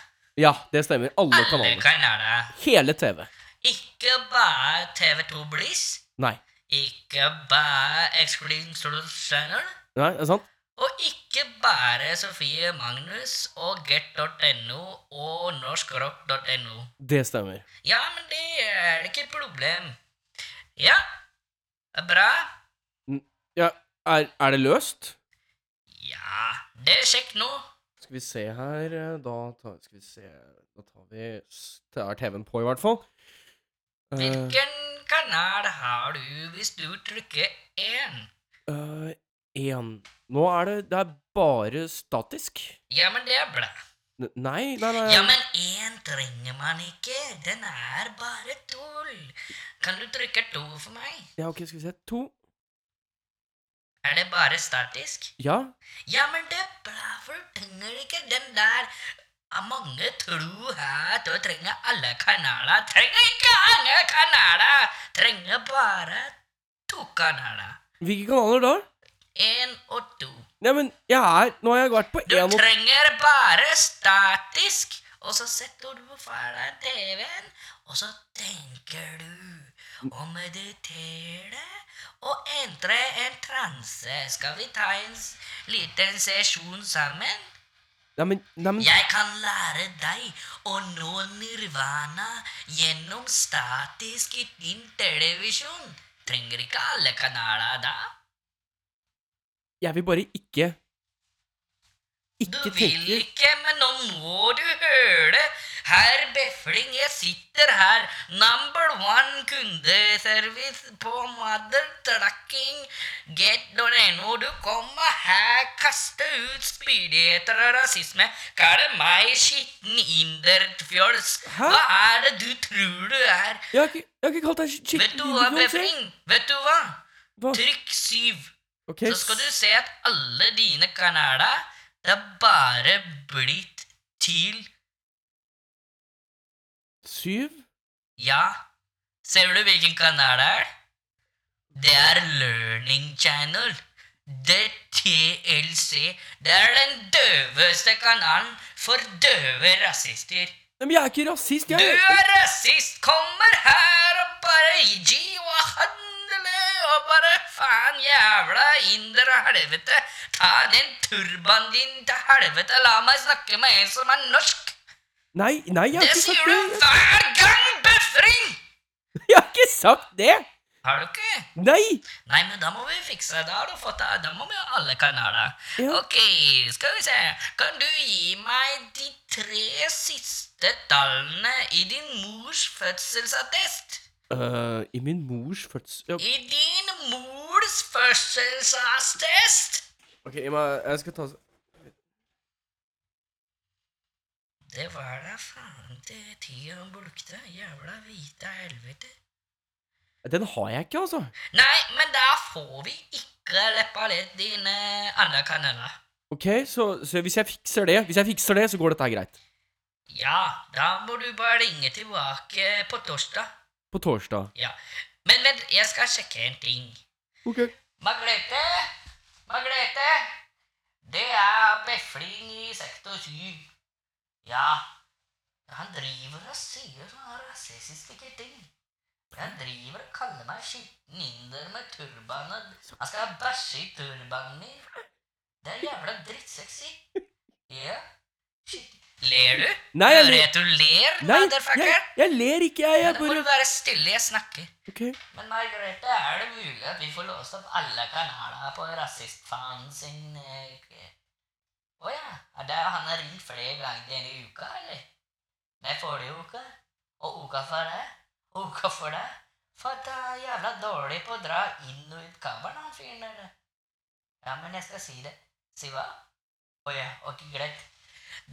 Speaker 3: Ja, det stemmer. Alle
Speaker 4: Alle
Speaker 3: kanalene.
Speaker 4: kanaler.
Speaker 3: Hele TV.
Speaker 4: Ikke bare TV2 Bliss,
Speaker 3: Nei.
Speaker 4: ikke bare Excluding Soul Channel,
Speaker 3: Nei, er det sant?
Speaker 4: og ikke bare Sofie Magnus og get.no og norskrock.no.
Speaker 3: Det stemmer.
Speaker 4: Ja, men det er ikke et problem. Ja, det er bra.
Speaker 3: Ja, er, er det løst?
Speaker 4: Ja, det er kjekt nå.
Speaker 3: Skal vi se her eh, Da tar, skal vi se Da tar vi s- Da er TV-en på, i hvert fall. Eh,
Speaker 4: Hvilken kanal har du hvis du trykker 1?
Speaker 3: eh, En Nå er det Det er bare statisk.
Speaker 4: Ja, men det er bra.
Speaker 3: N- Nei, nei, nei.
Speaker 4: Ja, men én trenger man ikke. Den er bare tull. Kan du trykke to for meg?
Speaker 3: Ja, ok, skal vi se. To.
Speaker 4: Er det bare statisk?
Speaker 3: Ja.
Speaker 4: Ja, men det er bra, for du trenger ikke den der. Ah, Mange tror at du trenger alle kanaler. Trenger ikke alle kanaler! Trenger bare to kanaler.
Speaker 3: Hvilke kanaler da?
Speaker 4: Én og to.
Speaker 3: Nei, men jeg er Nå har jeg vært på
Speaker 4: Du
Speaker 3: én og
Speaker 4: trenger bare statisk, og så setter du fra deg TV-en, og så tenker du og mediterer og entrer en transe. Skal vi ta en s- liten sesjon sammen?
Speaker 3: Nei, men, nei, men
Speaker 4: Jeg kan lære deg å nå nirvana gjennom statisk i din televisjon. Trenger ikke alle kanaler da.
Speaker 3: jeg vil bare ikke
Speaker 4: Du
Speaker 3: ikke
Speaker 4: vil
Speaker 3: tenker
Speaker 4: ikke, men nå må du høre. Herr Befling, jeg sitter her. Number one kundeservice på Mother Trucking. Get down ennå. Du kommer her, kaste ut spydigheter og rasisme. Kall meg skitten inderfjols.
Speaker 3: Hæ?
Speaker 4: Hva er det du tror du er?
Speaker 3: Jeg har ikke, jeg har ikke kalt deg sk-
Speaker 4: Vet du
Speaker 3: skikkelig
Speaker 4: hva,
Speaker 3: idiot, jeg.
Speaker 4: Befling? Vet du hva?
Speaker 3: Hva?
Speaker 4: Trykk syv.
Speaker 3: Ok,
Speaker 4: Så skal du se at alle dine kanaler Det er bare blitt til
Speaker 3: Syv?
Speaker 4: Ja Ser du hvilken kanal det er? Det er Learning Channel Det er TLC Det er den døveste kanalen For døve rasister
Speaker 3: Nei, men jeg er ikke rasist,
Speaker 4: Du
Speaker 3: jeg.
Speaker 4: er rasist Kommer her og bare gi og handle Og bare faen jævla Inder og helvete Ta den turban din til helvete La meg snakke med en som er norsk
Speaker 3: Nei, nei, jeg har
Speaker 4: Det
Speaker 3: ikke
Speaker 4: sier
Speaker 3: sagt
Speaker 4: du
Speaker 3: det.
Speaker 4: hver gang Bøfring
Speaker 3: Jeg har ikke sagt det!
Speaker 4: Har du ikke?
Speaker 3: Nei!
Speaker 4: Nei, men da må vi fikse Da har du fått det. Da må vi ha alle kanaler.
Speaker 3: Ja.
Speaker 4: Ok, skal vi se. Kan du gi meg de tre siste tallene i din mors fødselsattest?
Speaker 3: Øh, I min mors fødsel... Ja,
Speaker 4: I din mors fødselsattest?
Speaker 3: ok, jeg, må, jeg skal ta...
Speaker 4: Det var da faen til tida han bulkte. Jævla hvite helvete.
Speaker 3: Den har jeg ikke, altså.
Speaker 4: Nei, men da får vi ikke leppa litt dine andre kanaler.
Speaker 3: Ok, så, så hvis jeg fikser det, hvis jeg fikser det, så går dette her greit.
Speaker 4: Ja, da må du bare ringe tilbake på torsdag.
Speaker 3: På torsdag.
Speaker 4: Ja. Men vent, jeg skal sjekke en ting.
Speaker 3: Ok.
Speaker 4: Margrethe! Margrethe! Det er Befling i sektor 7. Ja, han driver og sier sånne rasistiske ting. Han driver og kaller meg skitten inder med turban og Han skal bæsje i turbanen min. Det er jævla drittsexy. Ja. Shit. Ler du?
Speaker 3: Nei, jeg
Speaker 4: Hører
Speaker 3: ler-
Speaker 4: jeg at du ler,
Speaker 3: Nei, jeg,
Speaker 4: motherfucker?
Speaker 3: jeg ler ikke, jeg.
Speaker 4: Ja,
Speaker 3: jeg
Speaker 4: Da må du
Speaker 3: bare...
Speaker 4: være stille, jeg snakker.
Speaker 3: Ok.
Speaker 4: Men Margrethe, er det mulig at vi får låst opp alle kanaler på rasistfanen sin eh, k- Å ja. Er det han har ringt flere ganger denne uka, eller? Nei, forrige uke. Og uka for det. Og uka for det. For at han er jævla dårlig på å dra inn og ut kammeren, han fyren der. Ja, men jeg skal si det. Si hva? Å ja, ok, greit.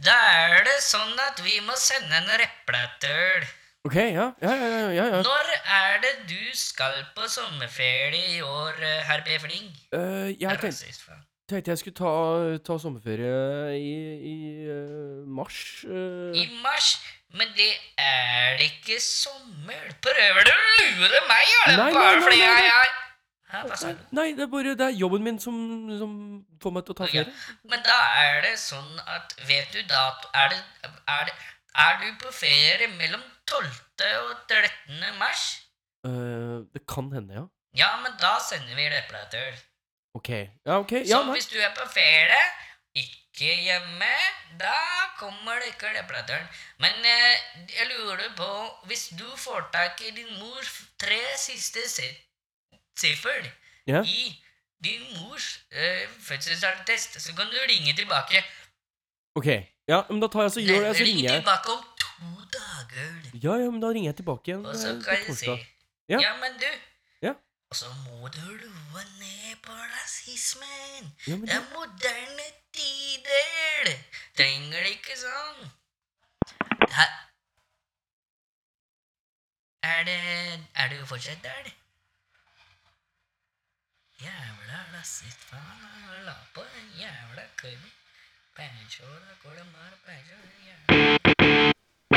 Speaker 4: Da er det sånn at vi må sende en replatøl.
Speaker 3: Ok, ja, ja, ja, ja, ja, ja.
Speaker 4: Når er det du skal på sommerferie i år, eh, herr B. Fling?
Speaker 3: Øh, jeg
Speaker 4: Er
Speaker 3: tenkte,
Speaker 4: rasist, faen.
Speaker 3: tenkte jeg skulle ta, ta sommerferie i, i øh, mars. øh.
Speaker 4: I mars? Men det er ikke sommer. Prøver du å lure meg, eller?
Speaker 3: Nei, nei,
Speaker 4: Bare
Speaker 3: nei,
Speaker 4: fordi
Speaker 3: nei,
Speaker 4: jeg
Speaker 3: nei.
Speaker 4: er Hæ, Hva sa du?
Speaker 3: Eh, Nei, det er bare det er jobben min som, som får meg til å ta
Speaker 4: Ja,
Speaker 3: ferie.
Speaker 4: Men da er det sånn at Vet du dato? Er, det, er, det, er du på ferie mellom 12. og 13. mars?
Speaker 3: Øh, det kan hende, ja.
Speaker 4: Ja, men da sender vi replatør.
Speaker 3: Ok. Ja, ok. Ja,
Speaker 4: så
Speaker 3: nei.
Speaker 4: hvis du er på ferie, ikke hjemme, da kommer det ikke leplatøren. Men eh, jeg lurer på, hvis du får tak i din mors tre siste si- siffer
Speaker 3: Ja.
Speaker 4: i din mors eh, fødselsattest, så kan du ringe tilbake.
Speaker 3: Ok. Ja, men da tar jeg så gjør det, så
Speaker 4: Ring
Speaker 3: ringer jeg.
Speaker 4: tilbake om to dager.
Speaker 3: Ja, ja, men da ringer jeg tilbake igjen
Speaker 4: Og
Speaker 3: øh,
Speaker 4: så
Speaker 3: på
Speaker 4: kan jeg si
Speaker 3: torsdag. Ja.
Speaker 4: Ja, men du.
Speaker 3: Ja.
Speaker 4: Og så må du roe ned på rasismen.
Speaker 3: Ja, men
Speaker 4: Det
Speaker 3: det-
Speaker 4: er moderne tider! Trenger det ikke sånn. Hæ? Er det Er du fortsatt der? Jævla rasistfaen. han La på den jævla kødden. Pæsjåla, går det mer pæsjåla, jævla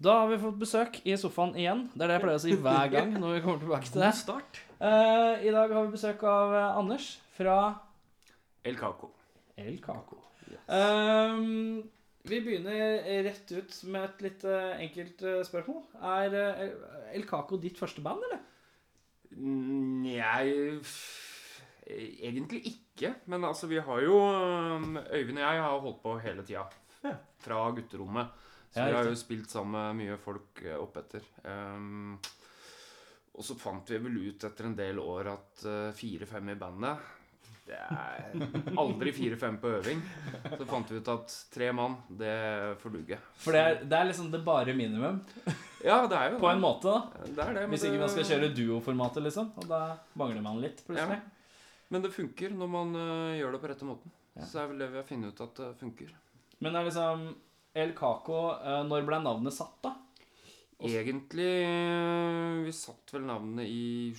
Speaker 2: Da har vi fått besøk i sofaen igjen. Det er det jeg pleier å si hver gang. når vi kommer tilbake til det.
Speaker 5: Start.
Speaker 2: Eh, I dag har vi besøk av eh, Anders fra
Speaker 5: El Caco.
Speaker 2: El Caco. Ehm, vi begynner rett ut med et litt eh, enkelt eh, spørsmål. Er eh, El- El Caco ditt første band, eller?
Speaker 5: Mm, Jeg f- Egentlig ikke. Men altså, vi har jo um, Øyvind og jeg har holdt på hele tida. Fra gutterommet. Så
Speaker 2: Ja,
Speaker 5: vi har
Speaker 2: riktig.
Speaker 5: jo spilt sammen med mye folk eh, oppetter. Um, Og så fant vi vel ut etter en del år at eh, fire-fem i bandet Det er aldri fire-fem på øving. Så fant vi ut at tre mann, det får duge.
Speaker 2: For det er, det er liksom det bare minimum,
Speaker 5: Ja, det er jo
Speaker 2: på en måte, da.
Speaker 5: Det er det, men
Speaker 2: Hvis ikke
Speaker 5: det-
Speaker 2: man skal kjøre duoformatet, liksom. Og da mangler man litt, plutselig.
Speaker 5: Men det funker når man eh, gjør det på rette måten.
Speaker 2: Ja.
Speaker 5: Så det er vel det vi har funnet ut at det funker.
Speaker 2: Men det er liksom El Caco eh, Når ble navnet satt, da?
Speaker 5: Egentlig eh, Vi satt vel navnet i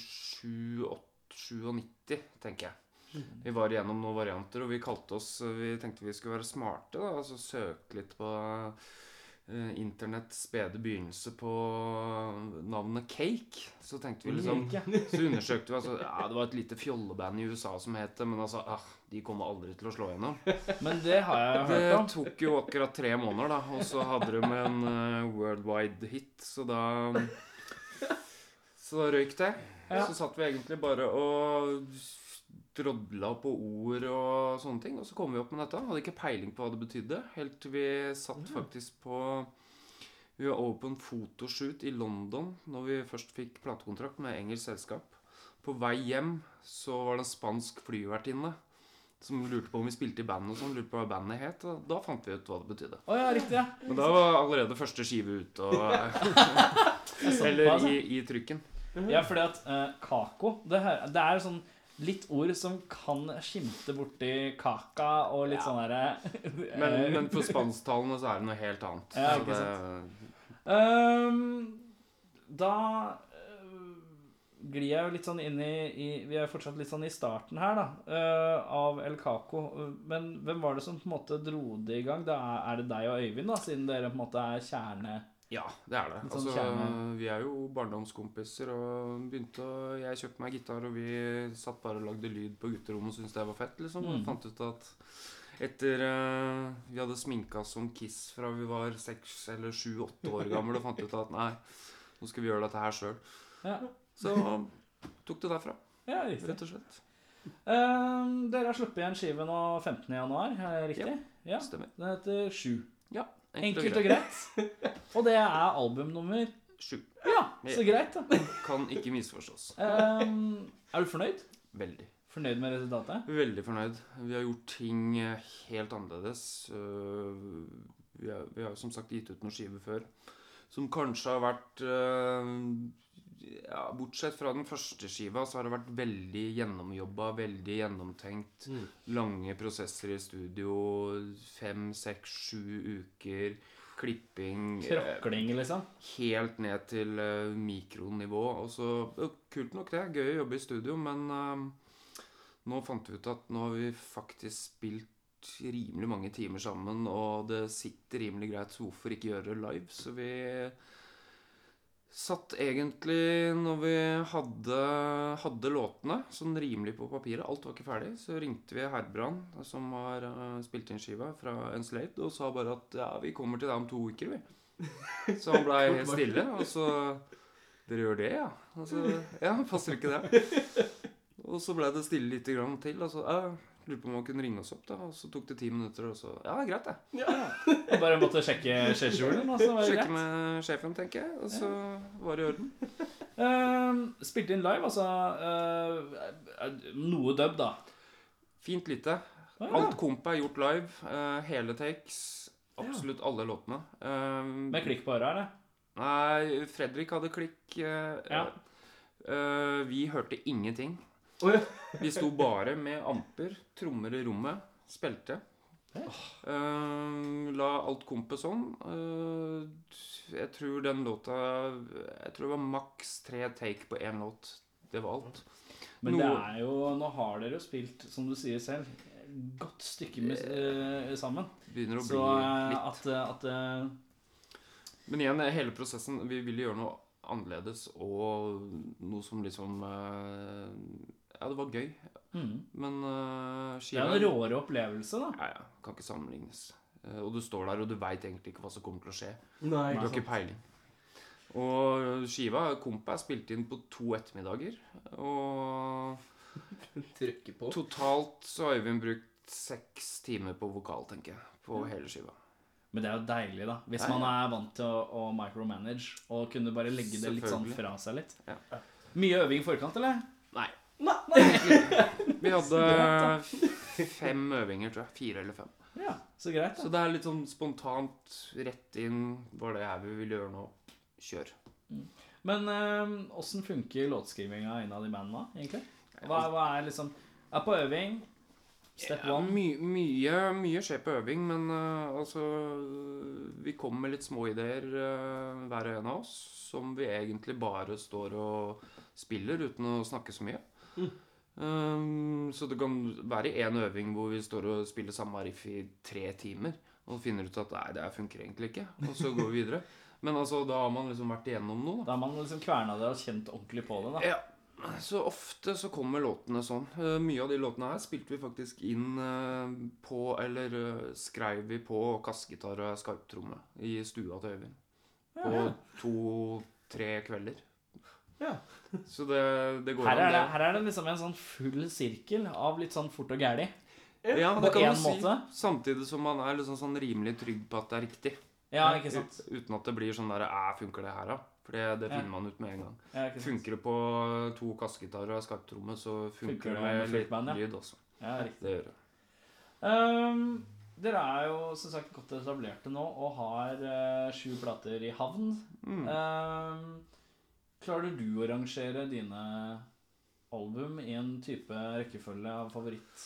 Speaker 5: 97, tenker jeg. Vi var igjennom noen varianter, og vi kalte oss eh, Vi tenkte vi skulle være smarte. da, altså Søke litt på eh, internetts spede begynnelse på eh, navnet Cake. Så tenkte vi liksom Så undersøkte vi altså, ja, Det var et lite fjolleband i USA som het det, men altså, ah, de kommer aldri til å slå gjennom.
Speaker 2: Men det har jeg hørt
Speaker 5: Det
Speaker 2: om.
Speaker 5: tok jo akkurat tre måneder, da. Og så hadde de en eh, worldwide hit, så da Så da røyk det.
Speaker 2: Ja.
Speaker 5: Så satt vi egentlig bare og drodla på ord og sånne ting. Og så kom vi opp med dette. Hadde ikke peiling på hva det betydde. Helt til vi satt faktisk på Vi var over på en fotoshoot i London når vi først fikk platekontrakt med engelsk selskap. På vei hjem så var det en spansk flyvertinne som lurte på om vi spilte i band og sånn. Lurte på hva bandet het. Og da fant vi ut hva det betydde.
Speaker 2: Å ja, riktig. ja.
Speaker 5: Men da var allerede første skive ute og Eller i, i trykken.
Speaker 2: Ja, fordi at eh, kako det, hø- det er sånn litt ord som kan skimte borti kaka og litt sånn derre
Speaker 5: Men, men for spansktalene så er det noe helt annet.
Speaker 2: Ja,
Speaker 5: Så
Speaker 2: ikke
Speaker 5: det,
Speaker 2: Ehm, da eh, glir jeg jo litt sånn inn i, i Vi er jo fortsatt litt sånn i starten her, da, eh, av El Caco. Men hvem var det som på en måte dro det i gang? Da er- er det deg og Øyvind, da, siden dere på en måte er kjerne...
Speaker 5: ja, det er det.
Speaker 2: Litt sånn
Speaker 5: Altså,
Speaker 2: kjerne.
Speaker 5: vi er jo barndomskompiser og begynte å Jeg kjøpte meg gitar, og vi satt bare og lagde lyd på gutterommet og syntes det var fett, liksom. Og
Speaker 2: Mm.
Speaker 5: fant ut at etter eh, Vi hadde sminka oss som Kiss fra vi var seks eller sju-åtte år gamle, og fant ut at nei, nå skal vi gjøre dette her sjøl.
Speaker 2: Ja,
Speaker 5: Så tok det derfra,
Speaker 2: ja riktig.
Speaker 5: rett og slett.
Speaker 2: Ehm, dere har sluppet igjen skive nå 15. januar, er det riktig? Ja.
Speaker 5: Stemmer.
Speaker 2: Den heter Sju.
Speaker 5: Ja,
Speaker 2: Enkelt og greit. Og det er albumnummer
Speaker 5: Sju.
Speaker 2: Ja, så greit, da.
Speaker 5: Kan ikke misforstås.
Speaker 2: Ehm, er du fornøyd?
Speaker 5: Veldig.
Speaker 2: Fornøyd med resultatet?
Speaker 5: Veldig fornøyd. Vi har gjort ting eh, helt annerledes. Øh, Vi har, vi har som sagt gitt ut noen skiver før som kanskje har vært eh, ja, Bortsett fra den første skiva, så har det vært veldig gjennomjobba, veldig gjennomtenkt. Lange prosesser i studio. Fem, seks, sju uker. Klipping. eh,
Speaker 2: Krakling, liksom?
Speaker 5: helt ned til eh, mikronivå. Og så, ø, kult nok det, gøy å jobbe i studio, men eh, nå fant vi ut at nå har vi faktisk spilt rimelig mange timer sammen, og det sitter rimelig greit, så hvorfor ikke gjøre det live? Så vi satt egentlig, når vi hadde, hadde låtene, sånn rimelig på papiret, alt var ikke ferdig, så ringte vi Herbrand, som har eh, spilt inn skiva fra Enslaved, og sa bare at ja, vi kommer til deg om to uker, vi. Så han blei helt stille, og så Dere gjør det, ja? Og så, ja, passer ikke det? Og så blei det stille lite grann til. Og så jeg lurte på om han kunne ringe oss opp, da. Og så tok det ti minutter, og så Ja, greit, det.
Speaker 2: Jeg Bare måtte sjekke scheduleren, og så var det
Speaker 5: Sjekke
Speaker 2: greit.
Speaker 5: med sjefen, tenker jeg. Og så var det i orden.
Speaker 2: Ehm, spilte inn live, altså eh, Noe dub, da.
Speaker 5: Fint lite.
Speaker 2: Ah, ja.
Speaker 5: Alt komp er gjort live. eh, hele takes. Absolutt alle låtene. Eh,
Speaker 2: Med klikk på øra, eller?
Speaker 5: Nei, Fredrik hadde klikk. eh,
Speaker 2: Ja.
Speaker 5: eh, vi hørte ingenting.
Speaker 3: Oi.
Speaker 5: Vi sto bare med amper, trommer i rommet, spilte. Eh, la alt kompet sånn. Eh, jeg tror den låta Jeg tror det var maks tre take på én låt. Det var alt.
Speaker 2: Men det
Speaker 5: Noe-
Speaker 2: er jo Nå har dere jo spilt, som du sier selv, godt stykke med, eh, sammen.
Speaker 5: Begynner å bli
Speaker 2: Så eh,
Speaker 5: litt
Speaker 2: at, eh, at eh,
Speaker 5: Men igjen, eh, hele prosessen Vi ville gjøre noe annerledes og noe som liksom eh, Ja, det var gøy.
Speaker 2: Mhm.
Speaker 5: Men uh,
Speaker 2: Det er jo en råere opplevelse, da.
Speaker 5: Ja, ja. Kan ikke sammenlignes. Eh, Og du står der, og du veit egentlig ikke hva som kommer til å skje.
Speaker 3: Nei,
Speaker 5: Du har ikke peiling. Og eh, skiva Kompa er spilt inn på to ettermiddager. Og
Speaker 3: trykke på.
Speaker 5: totalt så har Øyvind brukt seks timer på vokal, tenker jeg. På hele skiva.
Speaker 2: Men det er jo deilig, da. Hvis
Speaker 5: Ja, ja.
Speaker 2: man er vant til å, å micromanage og kunne bare legge det litt sånn
Speaker 5: Selvfølgelig.
Speaker 2: fra seg litt. Mye øving i forkant, eller?
Speaker 5: Nei.
Speaker 2: Nei, nei.
Speaker 5: Vi hadde fem øvinger, tror jeg. Fire eller fem.
Speaker 2: Ja, så greit.
Speaker 5: Så
Speaker 2: da.
Speaker 5: det er litt sånn spontant rett inn. Var det her vi ville gjøre nå? Kjør.
Speaker 2: Men eh, åssen funker låtskrivinga innad i bandene, egentlig? Hva, hva er liksom Er på øving. Step
Speaker 5: Ja,
Speaker 2: one.
Speaker 5: my, mye, mye skjer på øving, men eh, altså Vi kommer med litt småideer, uh, hver og en av oss, som vi egentlig bare står og spiller uten å snakke så mye. Um, så det kan være én øving hvor vi står og spiller samme riff i tre timer og finner ut at nei, det her funker egentlig ikke, og så går vi videre. Men altså, da har man liksom vært igjennom noe, da.
Speaker 2: Da har man liksom kverna det og kjent ordentlig på det. da
Speaker 5: Ja. Så ofte så kommer låtene sånn. Eh, Mye av de låtene her spilte vi faktisk inn eh, på Eller eh, skrev vi på kassegitar og skarptromme i stua til Øyvind. På to-tre kvelder.
Speaker 2: Ja.
Speaker 5: Så det, det går
Speaker 2: Her er, det,
Speaker 5: an,
Speaker 2: her er det liksom en sånn full sirkel av litt sånn fort og gæli.
Speaker 5: det. Ja,
Speaker 2: på
Speaker 5: det kan
Speaker 2: en
Speaker 5: du si.
Speaker 2: måte.
Speaker 5: Samtidig som man er liksom sånn rimelig trygg på at det er riktig.
Speaker 2: Ja, ikke sant?
Speaker 5: Ut- Uten at det blir sånn der Æ, funker det her, da? For det, det
Speaker 2: Ja.
Speaker 5: finner man ut med en gang.
Speaker 2: Ja, ikke sant?
Speaker 5: Funker det på to kassegitarer og skarptromme, så
Speaker 2: Funker
Speaker 5: funker
Speaker 2: det
Speaker 5: det
Speaker 2: med
Speaker 5: med
Speaker 2: fullt
Speaker 5: litt
Speaker 2: band, ja.
Speaker 5: lyd også.
Speaker 2: Ja, riktig.
Speaker 5: Det gjør det.
Speaker 2: Ehm, dere er jo som sagt godt etablerte nå og har eh, sju plater i havn. Ehm, klarer du å rangere dine album i en type rekkefølge av favoritt,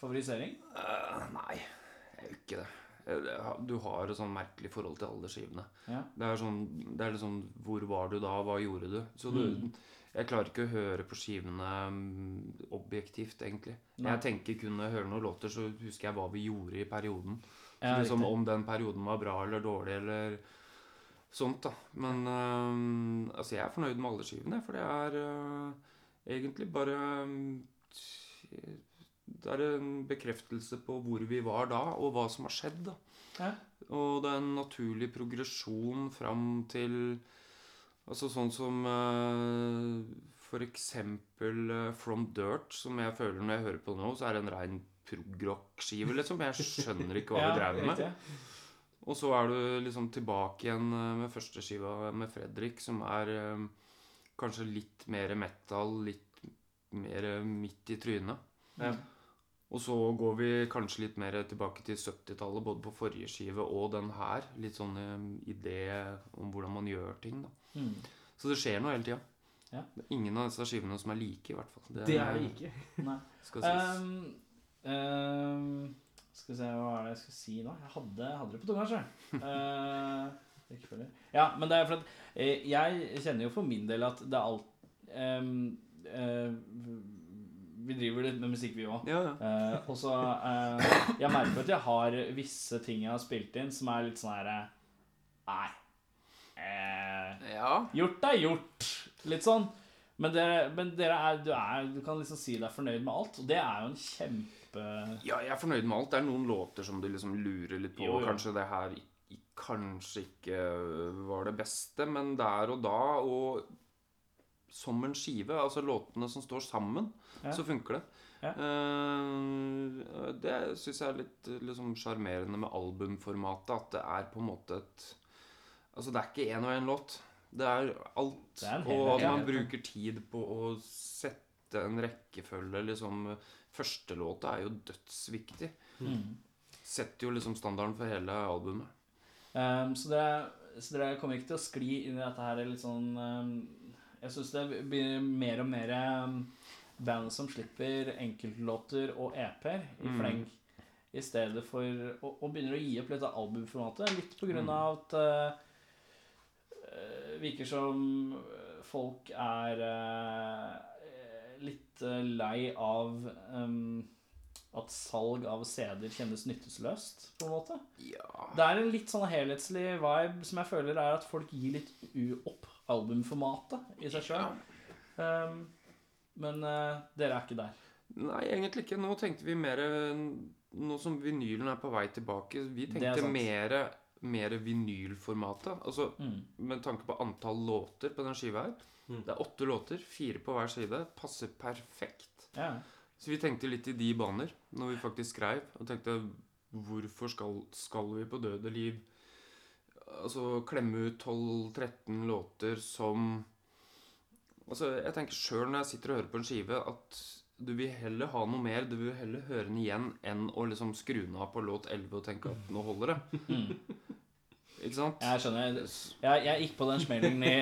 Speaker 2: favorisering?
Speaker 5: Eh, nei, jeg gjør ikke det. Jeg- jeg har- Du har et sånn merkelig forhold til alle skivene.
Speaker 2: Ja.
Speaker 5: Det er sånn, det er litt sånn Hvor var du da? Hva gjorde du? Så du,
Speaker 2: Mm.
Speaker 5: jeg klarer ikke å høre på skivene mm, objektivt, egentlig.
Speaker 2: Nei.
Speaker 5: Jeg tenker kun når jeg hører noen låter, så husker jeg hva vi gjorde i perioden. Så
Speaker 2: Ja,
Speaker 5: liksom
Speaker 2: riktig.
Speaker 5: Om den perioden var bra eller dårlig eller sånt, da. Men eh, altså, jeg er fornøyd med alle skivene, for det er eh, egentlig bare mm, det er en bekreftelse på hvor vi var da, og hva som har skjedd. da.
Speaker 2: Ja.
Speaker 5: Og det er en naturlig progresjon fram til Altså sånn som eh, for eksempel eh, From Dirt, som jeg føler når jeg hører på det nå, så er det en rein prog-rock-skive, liksom. Jeg skjønner ikke hva
Speaker 2: Ja,
Speaker 5: vi drev med.
Speaker 2: riktig.
Speaker 5: Og så er du liksom tilbake igjen eh, med første skiva med Fredrik, som er eh, kanskje litt mer metal, litt mer midt i trynet.
Speaker 2: Ja.
Speaker 5: Og så går vi kanskje litt mer tilbake til 70-tallet, både på forrige skive og den her. Litt sånn eh, idé om hvordan man gjør ting, da.
Speaker 2: Mm.
Speaker 5: Så det skjer noe hele tida.
Speaker 2: Ja.
Speaker 5: Det er Ingen av disse skivene som er like, i hvert fall.
Speaker 3: Det er det ikke.
Speaker 2: Nei.
Speaker 5: Skal sies.
Speaker 2: Ehm, ehm, skal vi se, hva er det jeg skal si nå? Jeg hadde, jeg hadde det på tunga, sjøl. ja, men det er for at eh, Jeg kjenner jo for min del at det er alt ehm, eh, Vi driver litt med musikk, vi òg.
Speaker 5: ja, ja.
Speaker 2: Eh, og så eh, Jeg merker at jeg har visse ting jeg har spilt inn, som er litt sånn her eh, Nei. Eh,
Speaker 5: ja.
Speaker 2: Gjort er gjort. Litt sånn. Men, det, men dere er, du er Du kan liksom si deg fornøyd med alt, og det er jo en kjempe
Speaker 5: Ja, jeg er fornøyd med alt. Det er noen låter som du liksom lurer litt på.
Speaker 2: Jo, jo.
Speaker 5: Kanskje det her i- i- kanskje ikke øh, var det beste, men der og da, og som en skive, altså låtene som står sammen,
Speaker 2: Ja.
Speaker 5: så funker det.
Speaker 2: Ja.
Speaker 5: Eh, det syns jeg er litt eh, liksom sjarmerende med albumformatet, at det er på en måte et Altså, det er ikke én og én låt. Det er alt.
Speaker 2: Det er en hel
Speaker 5: og at
Speaker 2: helhet,
Speaker 5: man
Speaker 2: ja.
Speaker 5: bruker tid på å sette en rekkefølge, liksom Første låta er jo dødsviktig.
Speaker 2: Mm.
Speaker 5: Setter jo liksom standarden for hele albumet.
Speaker 2: Ehm, så, dere, så dere kommer ikke til å skli inn i dette her litt sånn ehm, Jeg syns det blir mer og mer ehm, band som slipper enkeltlåter og EP-er i fleng. I stedet for og, og begynner å gi opp litt av albumformatet. Litt på grunn av at eh, eh, virker som folk er eh, litt eh, lei av ehm, at salg av CD-er kjennes nytteløst, på en måte.
Speaker 5: Ja.
Speaker 2: Det er en litt sånn helhetslig vibe som jeg føler er at folk gir litt u- opp albumformatet i seg sjøl. Um, men eh, dere er ikke der.
Speaker 5: Nei, egentlig ikke. Nå tenkte vi mer Nå som vinylen er på vei tilbake, vi
Speaker 2: Det er
Speaker 5: tenkte
Speaker 2: sant.
Speaker 5: mer, mer vinylformatet. Altså
Speaker 2: Mm.
Speaker 5: med tanke på antall låter på den skiva her. Det er åtte låter, fire på hver side. Passer perfekt.
Speaker 2: Ja.
Speaker 5: Så vi tenkte litt i de baner når vi faktisk skrev, og tenkte hvorfor skal, skal vi på døde liv altså klemme ut 12-13 låter som Altså, jeg tenker sjøl når jeg sitter og hører på en skive, at du vil heller ha noe mer. Du vil heller høre den igjen enn å liksom skru den av på låt 11 og tenke at nå holder det. Ikke sant?
Speaker 2: Jeg skjønner. Jeg, jeg gikk på den smellen i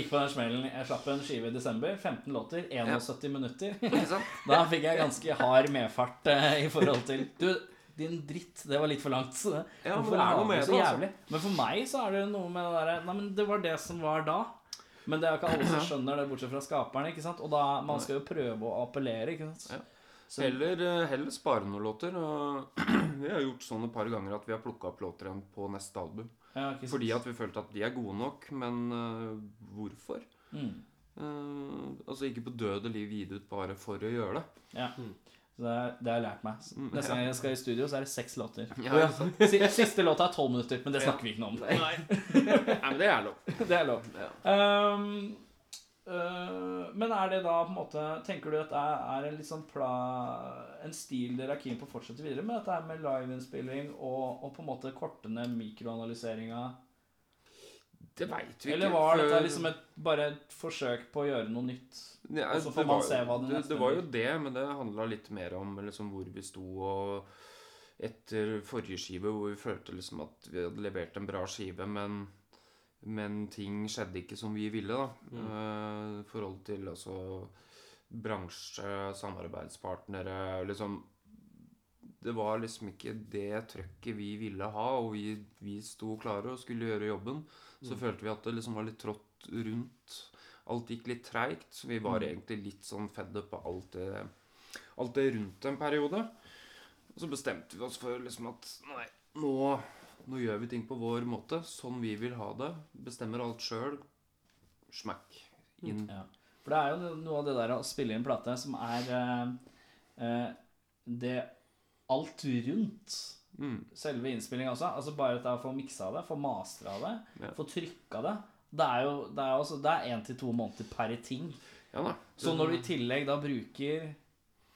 Speaker 2: gikk på den smellen. Jeg slapp en skive i desember. 15 låter, 71 minutter.
Speaker 5: Ikke sant?
Speaker 2: Da fikk jeg ganske hard medfart eh, i forhold til Du, din dritt, det var litt for langt. Så det.
Speaker 5: Ja, men
Speaker 2: hvorfor
Speaker 5: det er
Speaker 2: har
Speaker 5: noe
Speaker 2: du
Speaker 5: med
Speaker 2: så
Speaker 5: det, altså.
Speaker 2: jævlig? Men for meg så er det noe med det derre Nei, men det var det som var da. Men det er jo ikke alle som skjønner det, bortsett fra skaperne. ikke sant? Og da, man skal jo prøve å appellere, ikke sant. Så-
Speaker 5: Heller, eh, heller spare noen låter. Og vi har gjort sånn et par ganger at vi har plukka opp låter igjen på neste album.
Speaker 2: Ja, ikke sant?
Speaker 5: Fordi at vi følte at de er gode nok, men eh, hvorfor?
Speaker 2: Mm.
Speaker 5: Eh, altså ikke på døde liv gi det ut bare for å gjøre det.
Speaker 2: Ja. Så det, er- det har jeg lært meg. Så Neste gang jeg skal i studio, så er det seks låter.
Speaker 5: Mm, Ja, ikke sant?
Speaker 2: Si- Siste låta er tolv minutter, men det snakker vi ikke noe om.
Speaker 5: Nei, men det er lov.
Speaker 2: Det er lov. Ehm, øh, men er det da på en måte Tenker du at det er en litt sånn pla, en stil dere er keen på å fortsette videre med? Dette her med liveinnspilling og, og på en måte korte ned mikroanalyseringa?
Speaker 5: Det veit vi ikke.
Speaker 2: Eller var
Speaker 5: for-
Speaker 2: dette liksom et, bare et forsøk på å gjøre noe nytt?
Speaker 5: Ja,
Speaker 2: Og så får
Speaker 5: det
Speaker 2: man
Speaker 5: var-
Speaker 2: se hva den
Speaker 5: det,
Speaker 2: neste
Speaker 5: det var jo
Speaker 2: blir.
Speaker 5: det, men det handla litt mer om liksom, hvor vi sto og etter forrige skive, hvor vi følte liksom at vi hadde levert en bra skive, men, men ting skjedde ikke som vi ville, da.
Speaker 2: Mm.
Speaker 5: Eh, I forhold til altså bransje, samarbeidspartnere liksom Det var liksom ikke det trøkket vi ville ha, og vi, vi sto klare og skulle gjøre jobben.
Speaker 2: Mm.
Speaker 5: Så følte vi at det liksom var litt trått rundt. Alt gikk litt treigt. Så vi var egentlig litt sånn fed up av alt det, alt det rundt en periode. Og så bestemte vi oss for liksom at nei, nå, nå gjør vi ting på vår måte. Sånn vi vil ha det. Bestemmer alt sjøl. Smack. Inn.
Speaker 2: Ja. For det er jo noe av det der å spille inn plate som er eh, eh, det alt rundt selve innspillinga også. Altså bare at jeg får miksa det, får mastra det, får trykka det. Det er jo det er også, det er én til to måneder per ting.
Speaker 5: Ja da.
Speaker 2: Så når du
Speaker 5: Mm.
Speaker 2: i tillegg da bruker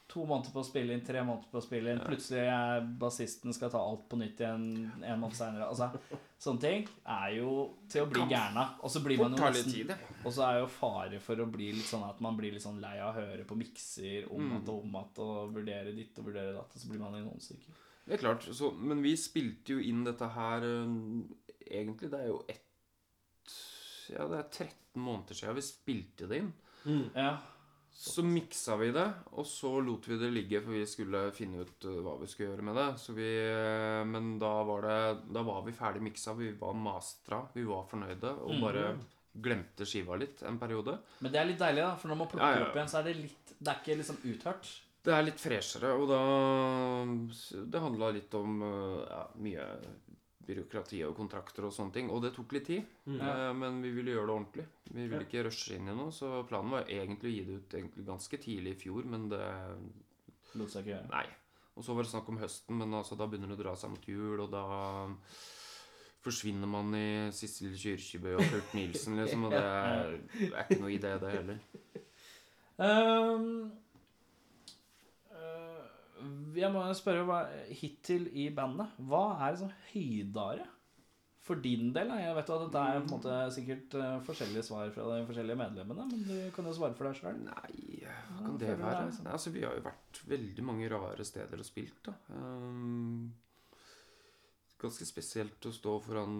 Speaker 2: to måneder på å spille inn, tre måneder på å spille inn, plutselig er bassisten skal ta alt på nytt igjen en måned seinere Altså, sånne ting er jo til å bli gæren av. Og så blir man jo
Speaker 5: tar litt
Speaker 2: nesten
Speaker 5: tid, det.
Speaker 2: Og så er jo fare for å bli litt sånn at man blir litt sånn lei av å høre på mikser om
Speaker 5: Mm.
Speaker 2: at og om at og vurdere ditt og vurdere datt, og så blir man i noen stykker.
Speaker 5: Det er klart. Så, men vi spilte jo inn dette her eh, Egentlig, det er jo ett Ja, det er 13 måneder siden vi spilte det inn.
Speaker 2: Ja.
Speaker 5: Så miksa vi det, og så lot vi det ligge, for vi skulle finne ut eh, hva vi skulle gjøre med det. Så vi, eh, men da var, det, da var vi ferdig miksa, vi var mastra, vi var fornøyde, og bare glemte skiva litt en periode.
Speaker 2: Men det er litt deilig, da, for når man plukker
Speaker 5: Ja, ja, ja.
Speaker 2: opp igjen, så er det litt Det er ikke liksom uthørt.
Speaker 5: Det er litt freshere, og da Det handla litt om eh, ja, mye byråkrati og kontrakter og sånne ting. Og det tok litt tid, eh, men vi ville gjøre det ordentlig. Vi ville ikke rushe inn i noe, så planen var egentlig å gi det ut egentlig ganske tidlig i fjor, men det
Speaker 2: Lot seg ikke gjøre.
Speaker 5: Nei. Og så var det snakk om høsten, men altså, da begynner det å dra seg mot jul, og da forsvinner man i Sissel Kyrkjebø og Kurt Nilsen, liksom, og det er, det er ikke noe idé, det heller.
Speaker 2: Ehm, øh, jeg må spørre hva, hittil i bandet. Hva er liksom høydare? For din del, da. jeg vet jo at det er på en måte sikkert eh, forskjellige svar fra de forskjellige medlemmene, men du kan jo svare for deg sjøl.
Speaker 5: Nei, hva kan
Speaker 2: Ja,
Speaker 5: det
Speaker 2: føler
Speaker 5: være?
Speaker 2: det, altså.
Speaker 5: Nei, altså, vi har jo vært veldig mange rare steder og spilt, da. Ehm, ganske spesielt å stå foran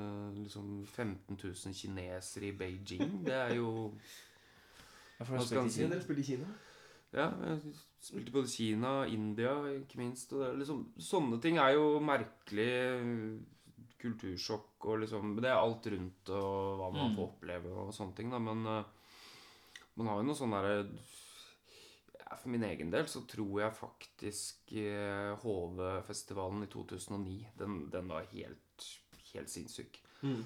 Speaker 5: eh, liksom 15 000 kinesere i Beijing. Det er jo Hva skal han si?
Speaker 3: Dere spilte i Kina?
Speaker 5: Ja, jeg spilte både Kina, India, ikke minst. Og det, er liksom, sånne ting er jo merkelig øh, kultursjokk og liksom Det er alt rundt og hva
Speaker 2: Mm.
Speaker 5: man får oppleve og sånne ting, da. Men øh, man har jo noe sånn derre ja, For min egen del så tror jeg faktisk øh, HV-festivalen i 2009 Den, den var helt, helt sinnssyk.
Speaker 2: Mm.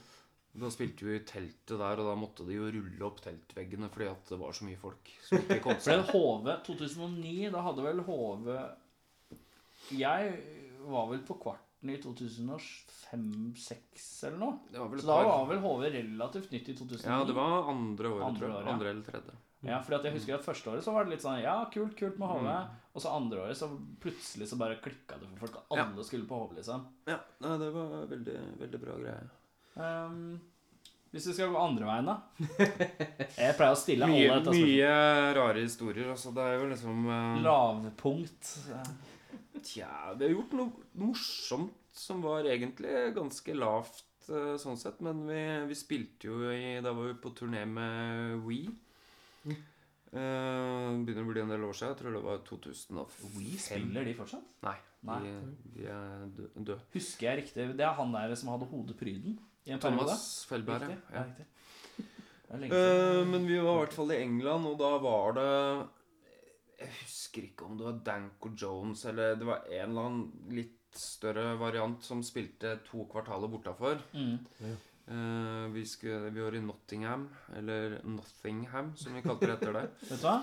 Speaker 5: Da spilte vi i teltet der, og da måtte de jo rulle opp teltveggene fordi at det var så mye folk som ikke kom
Speaker 2: Ble
Speaker 5: seg
Speaker 2: det HV 2009? Da hadde vel HV Jeg var vel på kvarten i 2005-2006 eller noe.
Speaker 5: Det var vel
Speaker 2: Så
Speaker 5: et
Speaker 2: da
Speaker 5: par-
Speaker 2: var vel HV relativt nytt i 2009.
Speaker 5: Ja, det var andre året,
Speaker 2: Andre
Speaker 5: tror jeg.
Speaker 2: året, ja.
Speaker 5: Andre eller tredje.
Speaker 2: Ja, fordi at jeg husker at første året så var det litt sånn Ja, kult, kult med HV.
Speaker 5: Mm.
Speaker 2: Og så andre året så plutselig så bare klikka det for folk. og Alle skulle på HV, liksom.
Speaker 5: Ja, nei, det var veldig, veldig bra greie.
Speaker 2: Ehm, Hvis du skal gå andre veien, da? Jeg pleier å stille
Speaker 5: Mye,
Speaker 2: alle dette spørsmålet.
Speaker 5: mye rare historier. Altså, det er jo liksom eh,
Speaker 2: Lavpunkt.
Speaker 5: Tja, vi har gjort noe morsomt som var egentlig ganske lavt eh, sånn sett. Men vi, vi spilte jo i Da var vi på turné med We.
Speaker 2: Mm.
Speaker 5: Eh, begynner å bli en del år siden. Jeg tror det var 2005.
Speaker 2: We spiller de fortsatt?
Speaker 5: Nei,
Speaker 2: Nei.
Speaker 5: De, de er dø- døde.
Speaker 2: Husker jeg riktig? Det er han der som hadde hodepryden? I en periode?
Speaker 5: Thomas Fellberg,
Speaker 2: Riktig?
Speaker 5: ja.
Speaker 2: Ja, riktig. Det er lenge siden.
Speaker 5: Eh, men vi var i hvert fall i England, og da var det Jeg husker ikke om det var Danko Jones eller Det var en eller annen litt større variant som spilte to kvartaler bortafor.
Speaker 2: Mm.
Speaker 5: Eh, vi, skulle, vi var i Nottingham, eller Nothingham, som vi kalte det etter det.
Speaker 2: Vet du hva?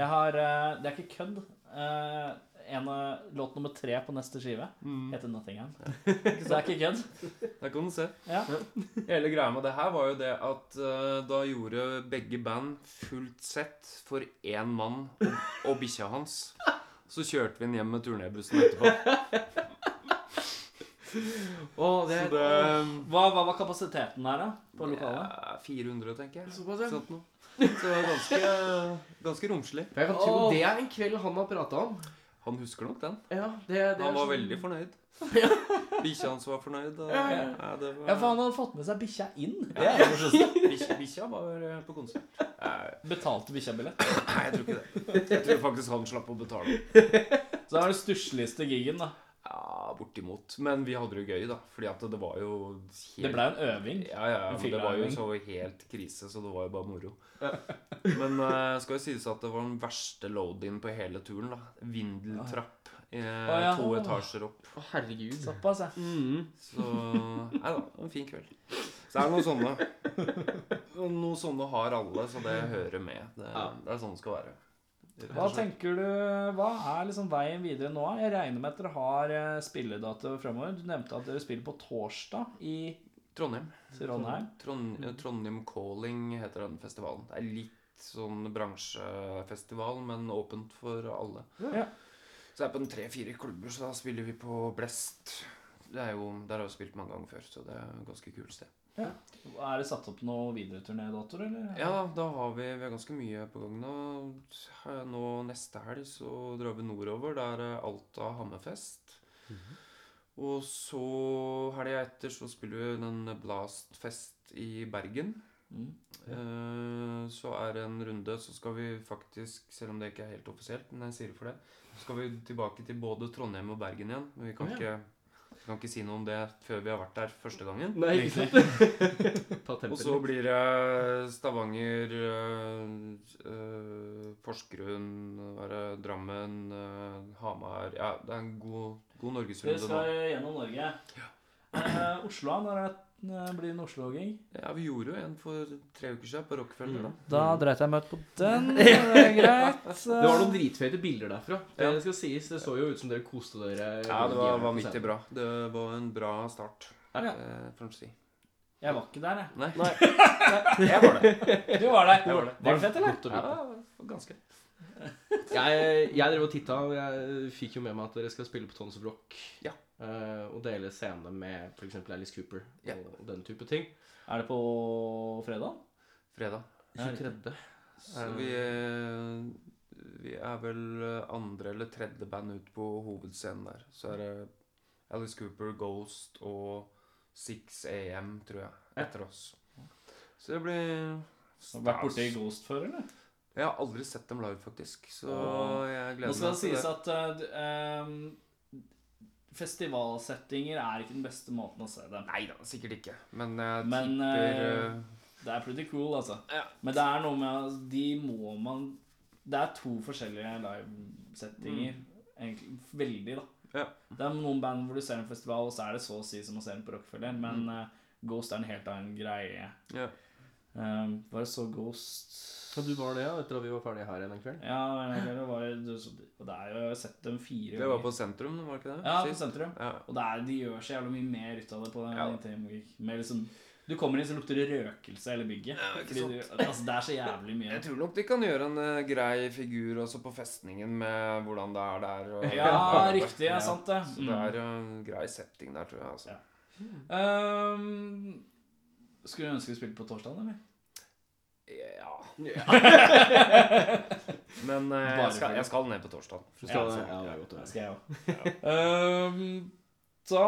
Speaker 2: Jeg har eh, Det er ikke kødd. eh, En av låt nummer tre på neste skive
Speaker 5: Mm.
Speaker 2: heter 'Nottingham'. Så det er ikke kødd.
Speaker 5: Der kan du se.
Speaker 2: Ja.
Speaker 5: Hele greia med det her var jo det at eh, da gjorde begge band fullt sett for én mann og, og bikkja hans. Så kjørte vi den hjem med turnébussen etterpå.
Speaker 3: det
Speaker 5: Så det
Speaker 2: Hva, hva var kapasiteten der, da? På lokalet?
Speaker 5: Ja, 400, tenker jeg.
Speaker 3: Såpass, ja.
Speaker 5: Sånt noe. Så det er ganske, ganske romslig.
Speaker 3: For jeg kan tro
Speaker 2: Åh.
Speaker 3: det er en kveld han har prata om.
Speaker 5: Han husker nok den.
Speaker 3: Ja, det, det
Speaker 5: Han
Speaker 3: er
Speaker 5: var
Speaker 3: sånn-
Speaker 5: veldig fornøyd. Bikkja hans var fornøyd. og-
Speaker 2: Ja, ja.
Speaker 5: Nei, det
Speaker 2: Ja, for
Speaker 5: var...
Speaker 2: han hadde fått med seg bikkja inn.
Speaker 5: Bikkja- Bikkja var eh, på konsert. Nei,
Speaker 2: Betalte bikkja-billett.
Speaker 5: nei, jeg tror ikke det. Jeg tror faktisk han slapp å betale.
Speaker 2: Så det var den stussligste gigen, da.
Speaker 5: Ja, Bortimot. Men vi hadde det jo gøy, da. Fordi at det var jo helt
Speaker 2: Det ble en øving.
Speaker 5: Ja, ja,
Speaker 2: En
Speaker 5: men det var jo
Speaker 2: filmregning.
Speaker 5: så helt krise, så det var jo bare moro. Men uh, skal jo sies at det var den verste load-in på hele turen, da. Vindeltrapp. Eh,
Speaker 2: ja.
Speaker 5: To etasjer opp.
Speaker 3: Å, herregud.
Speaker 2: Såpass, ja.
Speaker 5: Mm. Så Nei da, en fin kveld. Så det er noen sånne. Og Noen sånne har alle, så det hører med. Det,
Speaker 3: Ja.
Speaker 5: det er sånn det skal være.
Speaker 2: Hva tenker du, hva er liksom veien videre nå? Jeg regner med at dere har eh, spilledato fremover. Du nevnte at dere spiller på torsdag i
Speaker 5: Trondheim.
Speaker 2: Trondheim.
Speaker 5: Trond, eh, Trondheim Calling heter den festivalen. Det er litt sånn bransjefestival, men åpent for alle.
Speaker 2: Ja.
Speaker 5: Så det er på en tre-fire klubber, så da spiller vi på Blest. Det er jo, der har vi spilt mange ganger før, så det er et ganske kult sted.
Speaker 2: Er det satt opp noen videre turnédatoer, eller?
Speaker 5: Ja, da har vi, vi har ganske mye på gang nå. Her- Nå neste helg så drar vi nordover. Da er det Alta Hammerfest. Og så helga etter så spiller vi den Blast-fest i Bergen.
Speaker 2: Mm.
Speaker 5: Eh, Så er det en runde, så skal vi faktisk, selv om det ikke er helt offisielt, men jeg sier det for det, så skal vi tilbake til både Trondheim og Bergen igjen. Men vi kan,
Speaker 3: Å, ja.
Speaker 5: ikke, vi kan ikke si noe om det før vi har vært der første gangen.
Speaker 3: Nei, ikke sant? Ta
Speaker 5: Og
Speaker 3: tempen
Speaker 5: så
Speaker 3: litt.
Speaker 5: blir det Stavanger, eh, eh, Porsgrunn, hva er det, Drammen, eh, Hamar Ja, det er en god, god
Speaker 2: Dere
Speaker 5: norgesrunde nå.
Speaker 2: skal gjennom Norge. Eh, Oslo, når er det eh, blir det en Oslo-gig?
Speaker 5: Ja, vi gjorde jo en for tre uker siden på
Speaker 3: Mm.
Speaker 5: Rockefeller. da.
Speaker 2: Da dreit jeg meg ut på den. Det er greit.
Speaker 3: Det var noen dritfete bilder derfra. Eh, Det skal sies, det så jo ut som dere koste dere. eh,
Speaker 5: Ja, det var
Speaker 3: jævlig på
Speaker 5: vanvittig
Speaker 3: scenen.
Speaker 5: bra. Det var en bra start.
Speaker 2: Ja.
Speaker 5: eh, for å si.
Speaker 2: Jeg var ikke der,
Speaker 5: Nei. Jeg var det.
Speaker 2: jeg. Du var der.
Speaker 5: Jeg var der.
Speaker 2: Var det fett, eller?
Speaker 3: Godt å
Speaker 5: Ja,
Speaker 3: vite.
Speaker 5: ganske.
Speaker 3: Jeg, jeg drev og titta, og jeg eh, fikk jo med meg at dere skal spille på Tons of Rock.
Speaker 5: Ja.
Speaker 3: eh, og dele scene med f.eks. Alice Cooper
Speaker 5: Ja.
Speaker 3: og, og den type ting.
Speaker 2: Er det på fredag?
Speaker 5: Fredag.
Speaker 3: 23.
Speaker 2: Eh.
Speaker 5: Så vi, eh, vi er vel andre eller tredje band ut på hovedscenen der. Så er det Alice Cooper, Ghost og 6 AM, tror jeg, etter oss. Så det blir
Speaker 2: Har du Vært borti Ghost før, eller?
Speaker 5: Jeg har aldri sett dem live, faktisk. Så
Speaker 2: Åh.
Speaker 5: jeg
Speaker 2: Nå
Speaker 5: gleder
Speaker 2: skal
Speaker 5: meg
Speaker 2: det sies at eh, d- ehm, festivalsettinger er ikke den beste måten å se det.
Speaker 5: Nei da, sikkert ikke. Men jeg
Speaker 2: Men,
Speaker 5: tipper
Speaker 2: eh,
Speaker 5: eh,
Speaker 2: Det er pretty cool, altså.
Speaker 5: Ja.
Speaker 2: Men det er noe med at de må man Det er to forskjellige livesettinger, egentlig. Veldig, da.
Speaker 5: Mm. Ja.
Speaker 2: Det er noen band hvor du ser en festival, og så er det så å si som å se den på Rockefeller, men
Speaker 5: Mm.
Speaker 2: eh, Ghost er en helt annen greie.
Speaker 5: ja.
Speaker 2: Um, bare så Ghost
Speaker 3: Ja, du var det, ja, etter at vi var ferdige her en kveld?
Speaker 2: Ja, det var jo Og det er jo Jeg har sett dem fire
Speaker 5: Det var på sentrum, var det ikke det?
Speaker 2: Ja, på
Speaker 5: Sist?
Speaker 2: sentrum.
Speaker 5: Ja.
Speaker 2: Og det er, de gjør så jævlig mye mer ut av det på den
Speaker 5: Ja.
Speaker 2: Interimogik. Med liksom, du kommer inn, så lukter det røkelse eller bygget.
Speaker 5: ikke
Speaker 2: Fordi du, altså, det er så jævlig mye.
Speaker 5: Jeg tror nok de kan gjøre en eh, grei figur også på festningen med hvordan det er der. Og,
Speaker 2: Ja,
Speaker 5: og-
Speaker 2: riktig. Det er sant, Mm. det.
Speaker 5: eh, Så det er en grei setting der, tror jeg. Altså.
Speaker 2: Ja. Um, Skulle du ønske du spilte på torsdag, eller?
Speaker 5: Ja. Men eh, jeg, skal, jeg skal ned på torsdag.
Speaker 3: Du skal,
Speaker 2: Ja,
Speaker 3: ja, det er godt å
Speaker 2: Det
Speaker 3: høre.
Speaker 2: skal jeg òg. Ehm, Da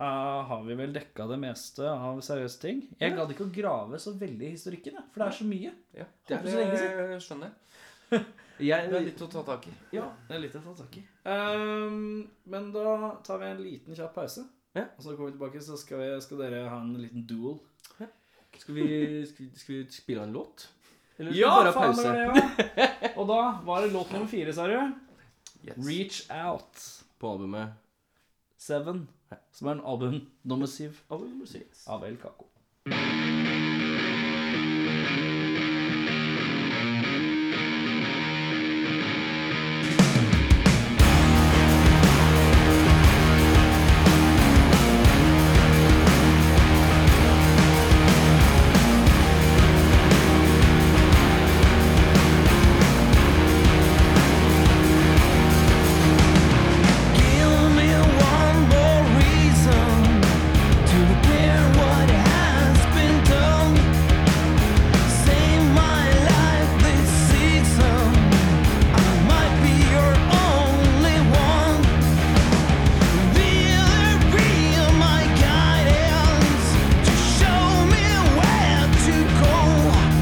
Speaker 2: eh, har vi vel dekka det meste av seriøse ting. Jeg gadd ikke å grave så veldig i historikken, jeg, for det er så mye.
Speaker 5: Ja,
Speaker 2: Det er ikke så lenge
Speaker 5: siden. Skjønner. jeg. Det er
Speaker 3: Jeg,
Speaker 5: litt å ta tak i.
Speaker 2: Ja, det er litt å
Speaker 3: sånn
Speaker 2: ta tak i. Ehm, men da tar vi en liten kjapp pause.
Speaker 3: Ja.
Speaker 2: Og så kommer vi tilbake, så skal, vi, skal dere ha en liten duel.
Speaker 3: skal, vi, skal, vi, skal vi spille en låt? Eller skal vi
Speaker 2: Ja,
Speaker 3: bare ha
Speaker 2: faen, det
Speaker 3: pause?
Speaker 2: var det, ja! Og da var det låt nummer fire, sa du.
Speaker 5: Yes.
Speaker 2: Reach Out
Speaker 3: På albumet.
Speaker 2: Seven, som er en album nummer syv
Speaker 3: Album nummer seks.
Speaker 2: av El Caco.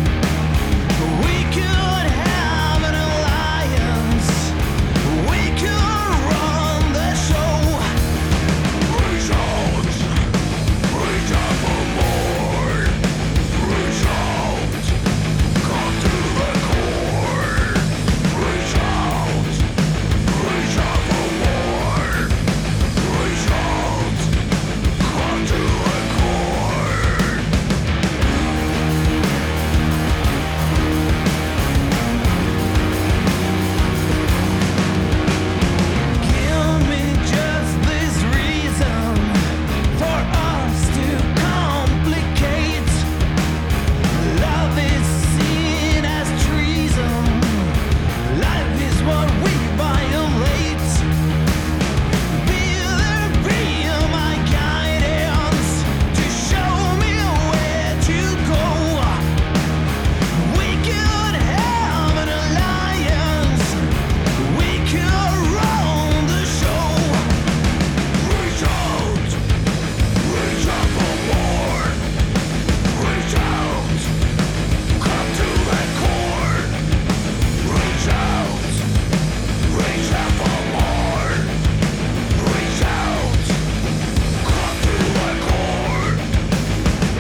Speaker 6: We could have an alliance. We could run the show. Reach out, reach out for more. Reach out, come to the core. Reach out, reach out for more. Reach out, come to the core. Give me just this reason for us to complicate. Love is seen as treason. Life is what we violate. Be there, be my guidance to show me where to go. We could have an alliance. We could run the show. Reach out, reach out for more. Reach out, come to the core. Reach out, reach out for more. Reach out, come to the core.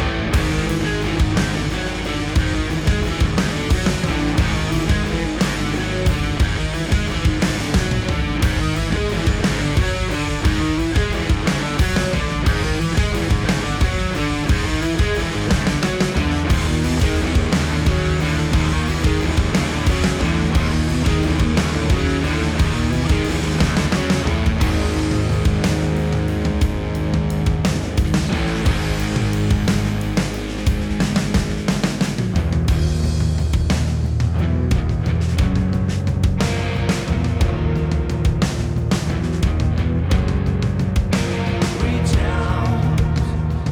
Speaker 6: Reach out,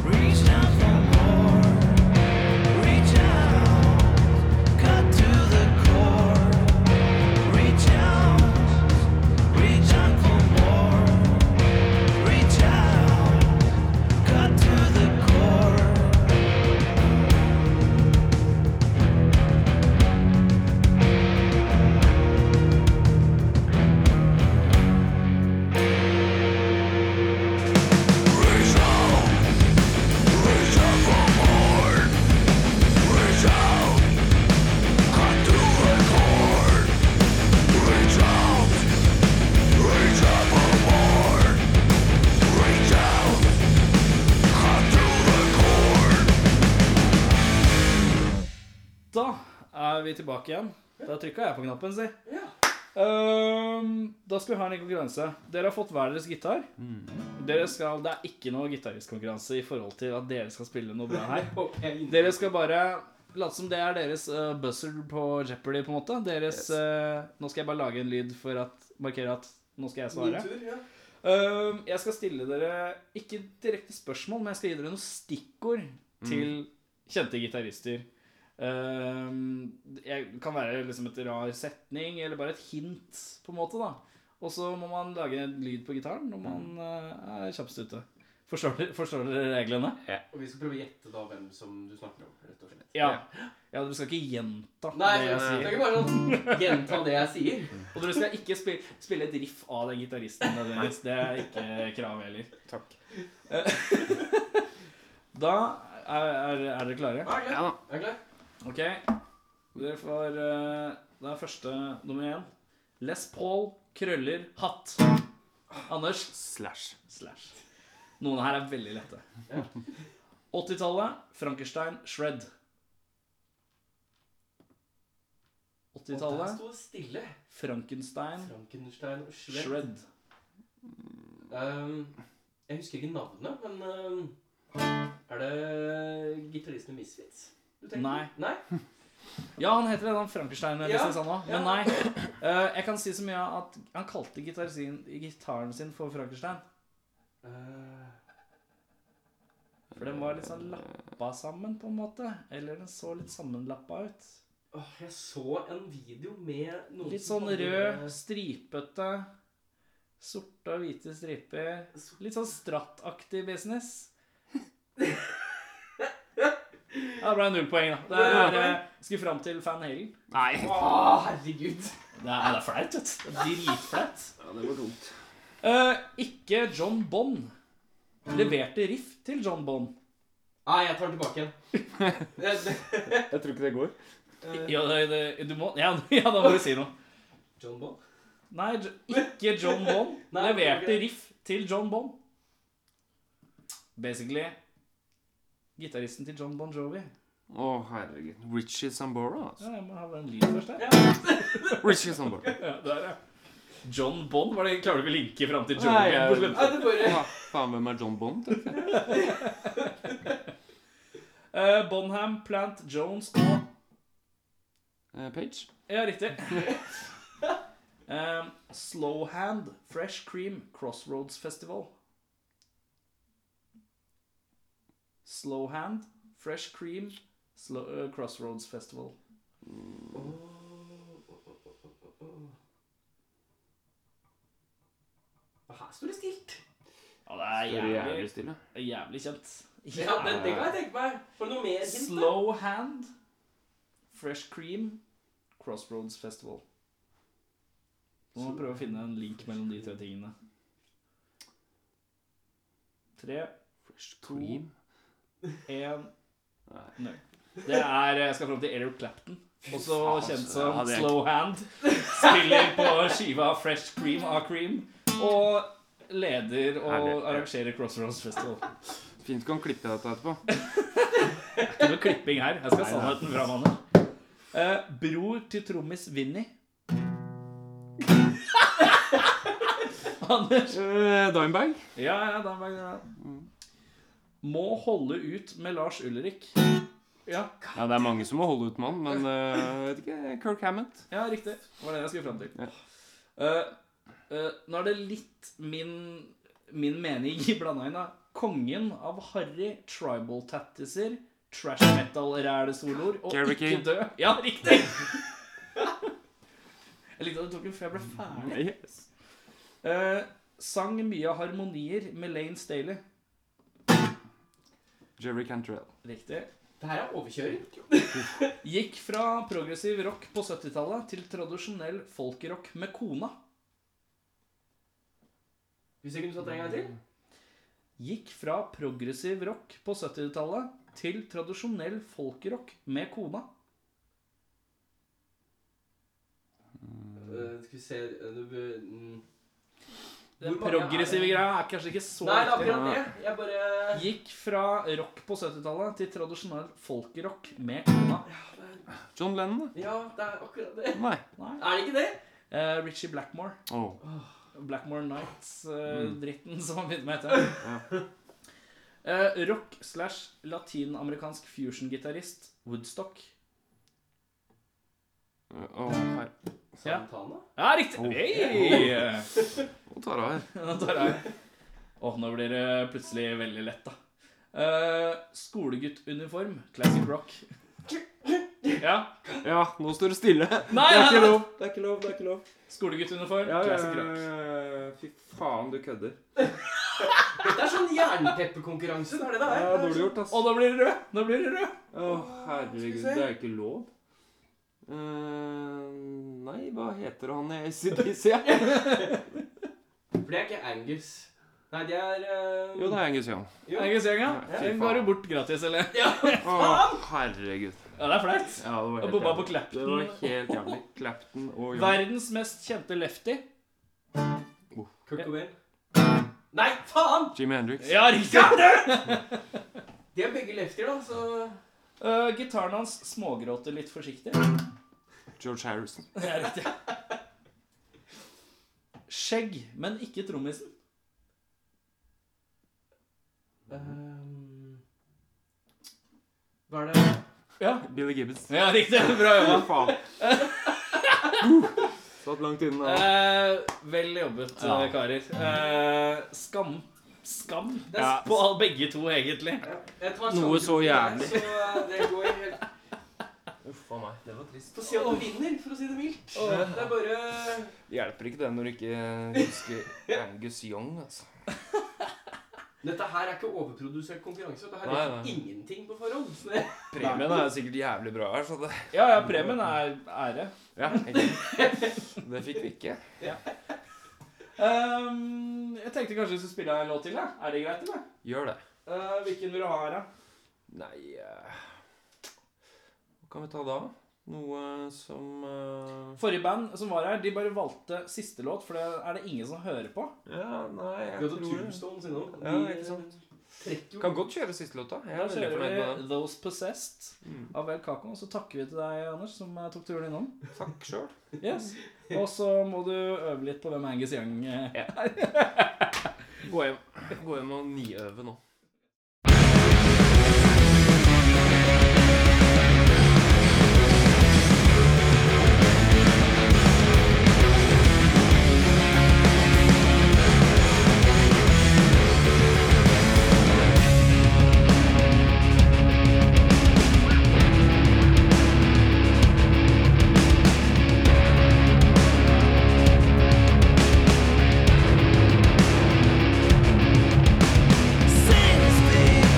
Speaker 6: reach out for more. Reach out, cut to the core. Reach out, reach out for more. Reach out, cut to the core.
Speaker 2: Da er vi tilbake igjen. Da trykka jeg på knappen, si. Ehm, da skal vi ha en liten konkurranse. Dere har fått hver deres gitar. Dere skal, det er ikke noe gitaristkonkurranse i forhold til at dere skal spille noe bra her. Dere skal bare late som det er deres eh, buzzer på Jeopardy, på en måte. Deres eh, Nå skal jeg bare lage en lyd for at markere at nå skal jeg svare. Ehm, jeg skal stille dere ikke direkte spørsmål, men jeg skal gi dere noen stikkord til kjente gitarister. Ehm, Det kan være liksom et rar setning, eller bare et hint, på en måte. da Og så må man lage en lyd på gitaren når man eh, er kjappest ute. Forstår dere, forstår dere reglene?
Speaker 7: Og vi skal prøve å gjette da hvem som du snakker om. rett og slett.
Speaker 2: Ja. ja du skal ikke gjenta
Speaker 7: Nei,
Speaker 2: det
Speaker 7: det
Speaker 2: jeg
Speaker 7: er
Speaker 2: sier.
Speaker 7: ikke bare sånn gjenta det jeg sier.
Speaker 2: Og dere skal ikke spille, spille et riff av den gitaristen. nødvendigvis. Det er ikke krav heller. Eh,
Speaker 5: Takk.
Speaker 2: Da er, er, er dere klare.
Speaker 7: Er
Speaker 5: Ja da.
Speaker 7: du klar?
Speaker 2: Ok, dere får eh, Det er første nummer én. Les Paul, krøller, hatt. Anders
Speaker 5: Slash.
Speaker 2: slash. Noen her er veldig lette. 80-tallet, Frankenstein, shred. 80-tallet,
Speaker 7: sto det stille.
Speaker 2: Frankenstein,
Speaker 7: Frankenstein og Shred.
Speaker 2: shred.
Speaker 7: Ehm, jeg husker ikke navnet, men ehm, Er det gitaristen i Misfits? du tenker på?
Speaker 2: Nei.
Speaker 7: Nei?
Speaker 2: Ja, han heter det, han Frankenstein.
Speaker 7: Ja,
Speaker 2: Ja, han også. Men
Speaker 7: ja.
Speaker 2: nei. eh, jeg kan si så mye at han kalte gitar sin, gitaren sin for Frankenstein.
Speaker 7: Eh,
Speaker 2: For den var litt sånn lappa sammen, på en måte. Eller den så litt sammenlappa ut.
Speaker 7: åh, jeg så en video med noen
Speaker 2: Litt
Speaker 7: som
Speaker 2: sånn
Speaker 7: hadde-
Speaker 2: rød, stripete. Sorte og hvite striper. Litt sånn strattaktig business. Ja, det ble null poeng, da. Det er, eh, skal fram til Van Halen.
Speaker 5: Nei.
Speaker 7: Å, herregud.
Speaker 2: Det er, det er flaut, vet du. Det er Dritflaut.
Speaker 5: Ja, det var dumt.
Speaker 2: Eh, ikke John Bond. Leverte riff til John Bond.
Speaker 7: Nei, jeg tar den tilbake igjen. Det- det-
Speaker 5: Jeg tror ikke det går.
Speaker 2: Ja, det, det, du må, ja, ja, da må du si noe.
Speaker 7: John Bond?
Speaker 2: Nei, Jo- ikke John Bond.
Speaker 7: Nei,
Speaker 2: Leverte
Speaker 7: ok.
Speaker 2: riff til John Bond. Basically gitaristen til John Bon Jovi.
Speaker 5: Å, herregud. Richie Sambora, altså.
Speaker 2: Ja, jeg må ha den lyden først her.
Speaker 5: Richie Sambora.
Speaker 2: Ja, der, ja. John Bond? Var det, klarer du ikke å linke fram til
Speaker 5: Nei,
Speaker 2: Jovi? på
Speaker 5: jeg-
Speaker 2: slutten?
Speaker 7: Nei, det bare
Speaker 5: Ja, faen, hvem er John Bond? tenker jeg?
Speaker 2: Eh, Bonham, Plant, Jones og
Speaker 5: Eh, Page?
Speaker 2: Ja, riktig. um, Slowhand, Fresh Cream, Crossroads Festival. Slowhand, Fresh Cream, Slo- eh, Crossroads Festival.
Speaker 7: Her står det stilt.
Speaker 2: Ja, det
Speaker 5: Det
Speaker 2: er
Speaker 5: er
Speaker 2: jævlig,
Speaker 5: jævlig stille.
Speaker 2: jævlig kjent.
Speaker 7: Ja, det, det kan jeg tenke meg. For noe mer hint? da?
Speaker 2: Slowhand, Fresh Cream, Crossroads Festival. Nå må vi prøve å finne en link mellom de tre tingene. Tre,
Speaker 5: Fresh cream.
Speaker 2: En Nei. Det er Jeg skal fram til Eric Clapton. Også kjent som
Speaker 5: Ja, det er-
Speaker 2: Slow Hand. Spiller på skiva Fresh Cream av Cream. Og leder og
Speaker 5: Herlig.
Speaker 2: arrangerer Crossroads Festival.
Speaker 5: Fint du kan klippe dette etterpå.
Speaker 2: Ikke noe klipping her. Jeg skal ha sannheten fra mannen. Eh, bror til trommis Vinny. Anders.
Speaker 5: Uh, Dimebag?
Speaker 2: Ja, ja, da var det
Speaker 5: Mm.
Speaker 2: Må holde ut med Lars Ulrik. Ja,
Speaker 5: Ja, det er mange som må holde ut med han, men eh, vet ikke. Kirk Hammett.
Speaker 2: Ja, riktig. Det var det jeg skulle fram til.
Speaker 5: Ja.
Speaker 2: Eh, eh, nå er det litt min, min mening blanda inn, da. Kongen av harry tribal tattiser, trash metal-ræle-soloer og
Speaker 5: Kerry
Speaker 2: ikke
Speaker 5: King.
Speaker 2: dø. Ja, riktig! jeg likte at du tok den før jeg ble ferdig.
Speaker 5: Yes.
Speaker 2: Eh, sang mye av harmonier med Lane Staley.
Speaker 5: Jerry Cantrell.
Speaker 2: Riktig.
Speaker 7: Det her er overkjøring.
Speaker 2: Gikk fra progressiv rock på 70-tallet til tradisjonell folkerock med kona.
Speaker 7: Hvis jeg kunne tatt det en gang til.
Speaker 2: gikk fra progressiv rock på 70-tallet til tradisjonell folkerock med kona.
Speaker 7: Eh, skal vi se eh, du, bør- mm.
Speaker 2: Den
Speaker 7: Hvor mange
Speaker 2: progressive
Speaker 7: er det?
Speaker 2: greia er kanskje ikke så
Speaker 7: Nei, det er
Speaker 2: viktig.
Speaker 7: akkurat det. Jeg bare
Speaker 2: Gikk fra rock på 70-tallet til tradisjonell folkerock med kona.
Speaker 5: John Lennon,
Speaker 4: 네, 어,
Speaker 5: da?
Speaker 7: Ja, det er akkurat det.
Speaker 5: Nei.
Speaker 2: Nei.
Speaker 4: 아,
Speaker 7: Er det ikke det?
Speaker 2: Eh, Richie Blackmore.
Speaker 5: Åh.
Speaker 2: Blackmore
Speaker 5: Mm.
Speaker 2: Nights-dritten som han begynte med å hete. Eh, rock slash latinamerikansk fusion-gitarist Woodstock.
Speaker 5: Åh, her.
Speaker 2: Ja.
Speaker 7: Santana?
Speaker 2: Ja, riktig!
Speaker 5: Oh.
Speaker 2: Hey!
Speaker 5: Nå tar jeg her.
Speaker 2: Nå tar jeg. Åh, nå blir det plutselig veldig lett, da. Eh, Skoleguttuniform. Classic rock. Ja.
Speaker 5: Ja, nå står det stille.
Speaker 2: Nei,
Speaker 5: det er
Speaker 2: nei,
Speaker 5: ikke
Speaker 2: nei.
Speaker 5: lov. Det er ikke lov. det er ikke lov.
Speaker 2: Skoleguttuniform.
Speaker 5: Ja, ja,
Speaker 2: Classic
Speaker 5: ja,
Speaker 2: rock.
Speaker 5: ja, ja. Fy faen, du kødder.
Speaker 7: Dette er sånn jernpepperkonkurranse. Det er det det
Speaker 5: Ja,
Speaker 7: er. sånn
Speaker 5: dårlig gjort, ass.
Speaker 2: Og da blir det rød! Da blir det rød!
Speaker 5: Å, herregud, det er ikke lov. Eh, nei, hva heter han i ACDC?
Speaker 7: For det er ikke Angus. Nei, det er eh,
Speaker 5: Jo, det er Angus Young.
Speaker 2: Engelskgjenga.
Speaker 5: Ja, fy
Speaker 2: Den går jo
Speaker 5: faen.
Speaker 2: bort gratis, eller?
Speaker 5: Å, herregud.
Speaker 2: Ja, det er flaut.
Speaker 5: Ja, det var
Speaker 2: Og
Speaker 5: helt
Speaker 2: bomma
Speaker 5: jævlig.
Speaker 2: på Clapton.
Speaker 5: Det var helt jævlig. Clapton og Young.
Speaker 2: Verdens mest kjente lefty.
Speaker 7: Kurt Cobain. Nei, faen!
Speaker 5: Jimi Hendrix.
Speaker 2: Ja, riktig!
Speaker 7: De er begge lefter, da, så
Speaker 2: Eh, gitaren hans smågråter litt forsiktig.
Speaker 5: George Harrison.
Speaker 2: Det er riktig. Skjegg, men ikke trommisen.
Speaker 7: Ehm, Hva er det
Speaker 2: Ja,
Speaker 5: Billy Gibbons.
Speaker 2: ja riktig. Bra jobba.
Speaker 5: Hva faen? Satt langt inne. da.
Speaker 2: Eh, vel jobbet, eh, karer. Eh, skam. Skam
Speaker 5: Ja.
Speaker 2: på all- begge to, egentlig.
Speaker 7: Jeg tar
Speaker 5: Noe så jævlig.
Speaker 7: sånn Så eh, det går helt Uff a meg. Det var trist. Få si at du vinner, for å si det mildt. Det er bare
Speaker 5: Hjelper ikke det når du ikke husker Angus Young, altså.
Speaker 7: Dette her er ikke overprodusert konkurranse. Dette her
Speaker 5: Nei,
Speaker 7: er
Speaker 5: nei.
Speaker 7: ingenting på forhånd. Så det...
Speaker 5: Premien er sikkert jævlig bra her, så det
Speaker 2: Ja, ja, premien er ære.
Speaker 5: Ja, egentlig. Det fikk vi ikke.
Speaker 2: Ehm, jeg tenkte kanskje vi skulle spille en låt til. Da. Er det greit, eller?
Speaker 5: Gjør det.
Speaker 2: Eh, hvilken vil du ha her, da?
Speaker 5: Nei eh, Hva kan vi ta da? Noe som eh,
Speaker 2: Forrige band som var her, de bare valgte siste låt, for det er det ingen som hører på.
Speaker 5: Ja, nei,
Speaker 7: Vi
Speaker 5: jeg
Speaker 7: hadde
Speaker 5: tror det.
Speaker 7: Tombstones innom.
Speaker 5: Ja,
Speaker 7: De,
Speaker 5: ikke sant.
Speaker 7: trekker jo-
Speaker 5: Kan godt kjøre siste låta. Jeg
Speaker 2: Da
Speaker 5: er veldig
Speaker 2: kjører
Speaker 5: fornøyd med Mm.
Speaker 2: vi
Speaker 5: den.
Speaker 2: Those Possessed av El Caco. Og så takker vi til deg, Anders, som eh, tok turen innom.
Speaker 5: Takk sjøl.
Speaker 2: Yes. Og så må du øve litt på hvem Angus Young eh, er.
Speaker 5: Gå hjem. Gå hjem og niøve nå.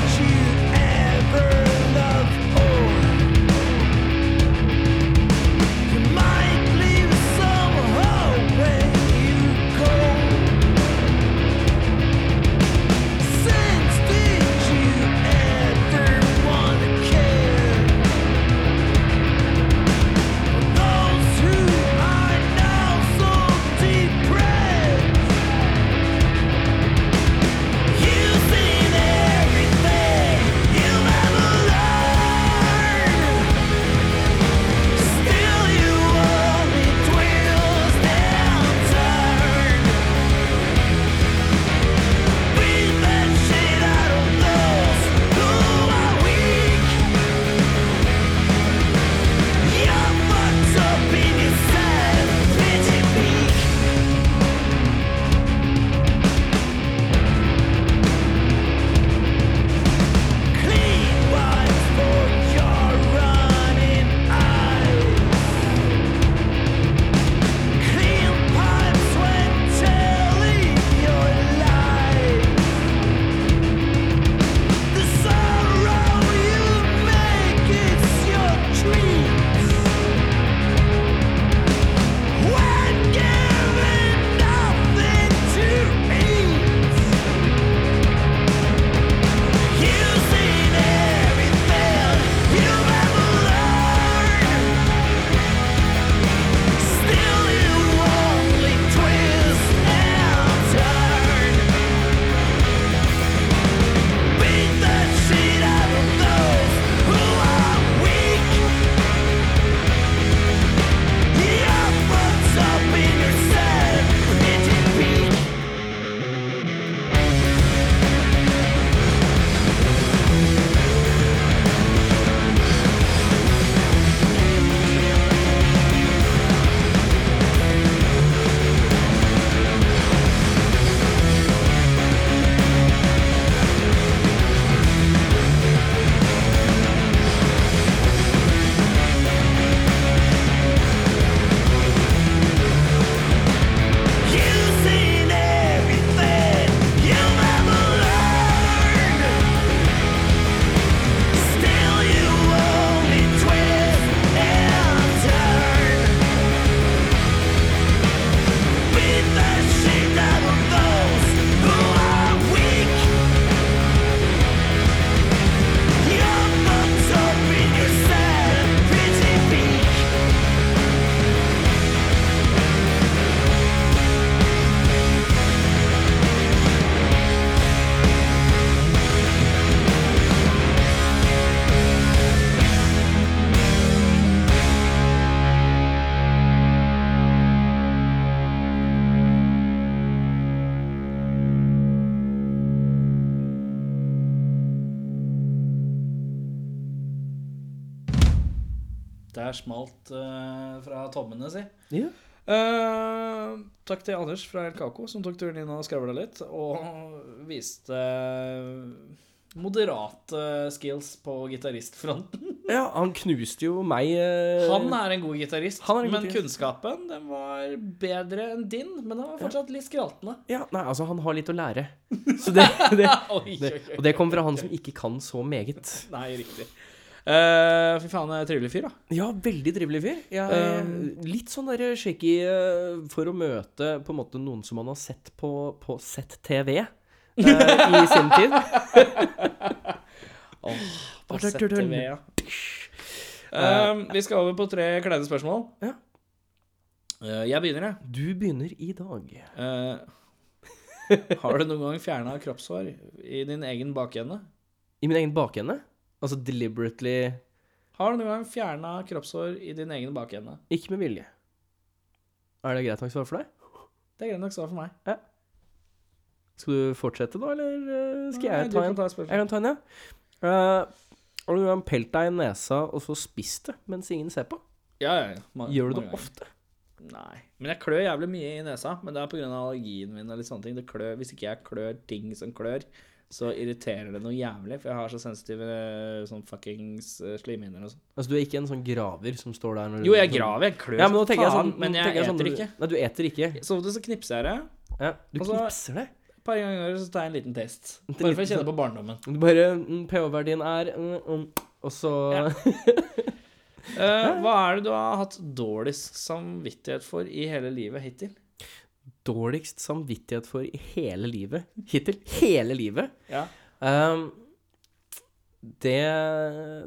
Speaker 6: See
Speaker 2: der smalt eh, fra tommene si.
Speaker 3: Ja.
Speaker 2: Eh, takk til Anders fra El Caco som tok turen inn og skravla litt, og viste eh, moderate skills på gitaristfronten.
Speaker 3: Ja, han knuste jo meg eh,
Speaker 2: Han er en god gitarist,
Speaker 3: Han er en god
Speaker 2: men
Speaker 3: gitarist.
Speaker 2: kunnskapen den var bedre enn din. Men den var fortsatt litt skraltende.
Speaker 3: Ja, nei, altså, han har litt å lære. Så det, det,
Speaker 2: Oi,
Speaker 3: det, og det kommer fra han som ikke kan så meget.
Speaker 2: Nei, riktig. Eh, fy faen, det er en trivelig fyr, da.
Speaker 3: Ja, veldig trivelig fyr. Jeg,
Speaker 2: Um,
Speaker 3: litt sånn der shaky eh, for å møte på en måte noen som man har sett på, på ZTV eh, i sin tid.
Speaker 2: På
Speaker 3: Bare
Speaker 2: ZTV,
Speaker 3: tull.
Speaker 2: ja. Eh, vi skal over på tre kleine spørsmål.
Speaker 3: Ja.
Speaker 2: Eh, jeg begynner, jeg.
Speaker 3: Du begynner i dag.
Speaker 2: Eh, har du noen gang fjerna kroppshår i din egen bakende?
Speaker 3: I min egen bakende? Altså deliberately
Speaker 2: Har du noen gang fjerna kroppshår i din egen bakende?
Speaker 3: ikke med vilje. Er det greit nok svar for deg?
Speaker 2: Det er greit nok svar for meg.
Speaker 3: Skal du fortsette da, eller eh, skal
Speaker 2: Nei,
Speaker 3: jeg
Speaker 2: du
Speaker 3: ta
Speaker 2: kan
Speaker 3: en?
Speaker 2: ta et spørsmål.
Speaker 3: Jeg kan ta en, ja. Eh, har du noen gang pelt deg i nesa og så spist det mens ingen ser på?
Speaker 2: Ja, ja, ja. Ma-
Speaker 3: Gjør du det
Speaker 2: mange ganger.
Speaker 3: ofte?
Speaker 2: Nei. Men jeg klør jævlig mye i nesa. Men det er pga. allergien min og litt sånne ting. Det klør, hvis ikke jeg klør ting som klør, så irriterer det noe jævlig. For jeg har så sensitive eh, sånn fuckings eh, slimhinner og sånn.
Speaker 3: Altså, du er ikke en sånn graver som står der når du
Speaker 2: Jo, jeg graver. Jeg klør
Speaker 3: Ja, men nå tenker jeg
Speaker 2: faen,
Speaker 3: sånn,
Speaker 2: men
Speaker 3: nå
Speaker 2: jeg
Speaker 3: tenker
Speaker 2: eter
Speaker 3: sånn, når du-
Speaker 2: ikke.
Speaker 3: Nei, du eter ikke.
Speaker 2: Så ofte så knipser jeg det.
Speaker 3: Ja, du
Speaker 2: Altså-
Speaker 3: knipser det.
Speaker 2: Et par ganger i året så tar jeg en liten test.
Speaker 3: En
Speaker 2: Bare for
Speaker 3: liten
Speaker 2: å kjenne på barndommen.
Speaker 3: Du bare mm, pH-verdien er mm, mm, Og så
Speaker 2: Eh, hva er det du har hatt dårligst samvittighet for i hele livet hittil?
Speaker 3: dårligst samvittighet for i hele livet. Hittil. Hele livet.
Speaker 2: Ja.
Speaker 3: Um, det,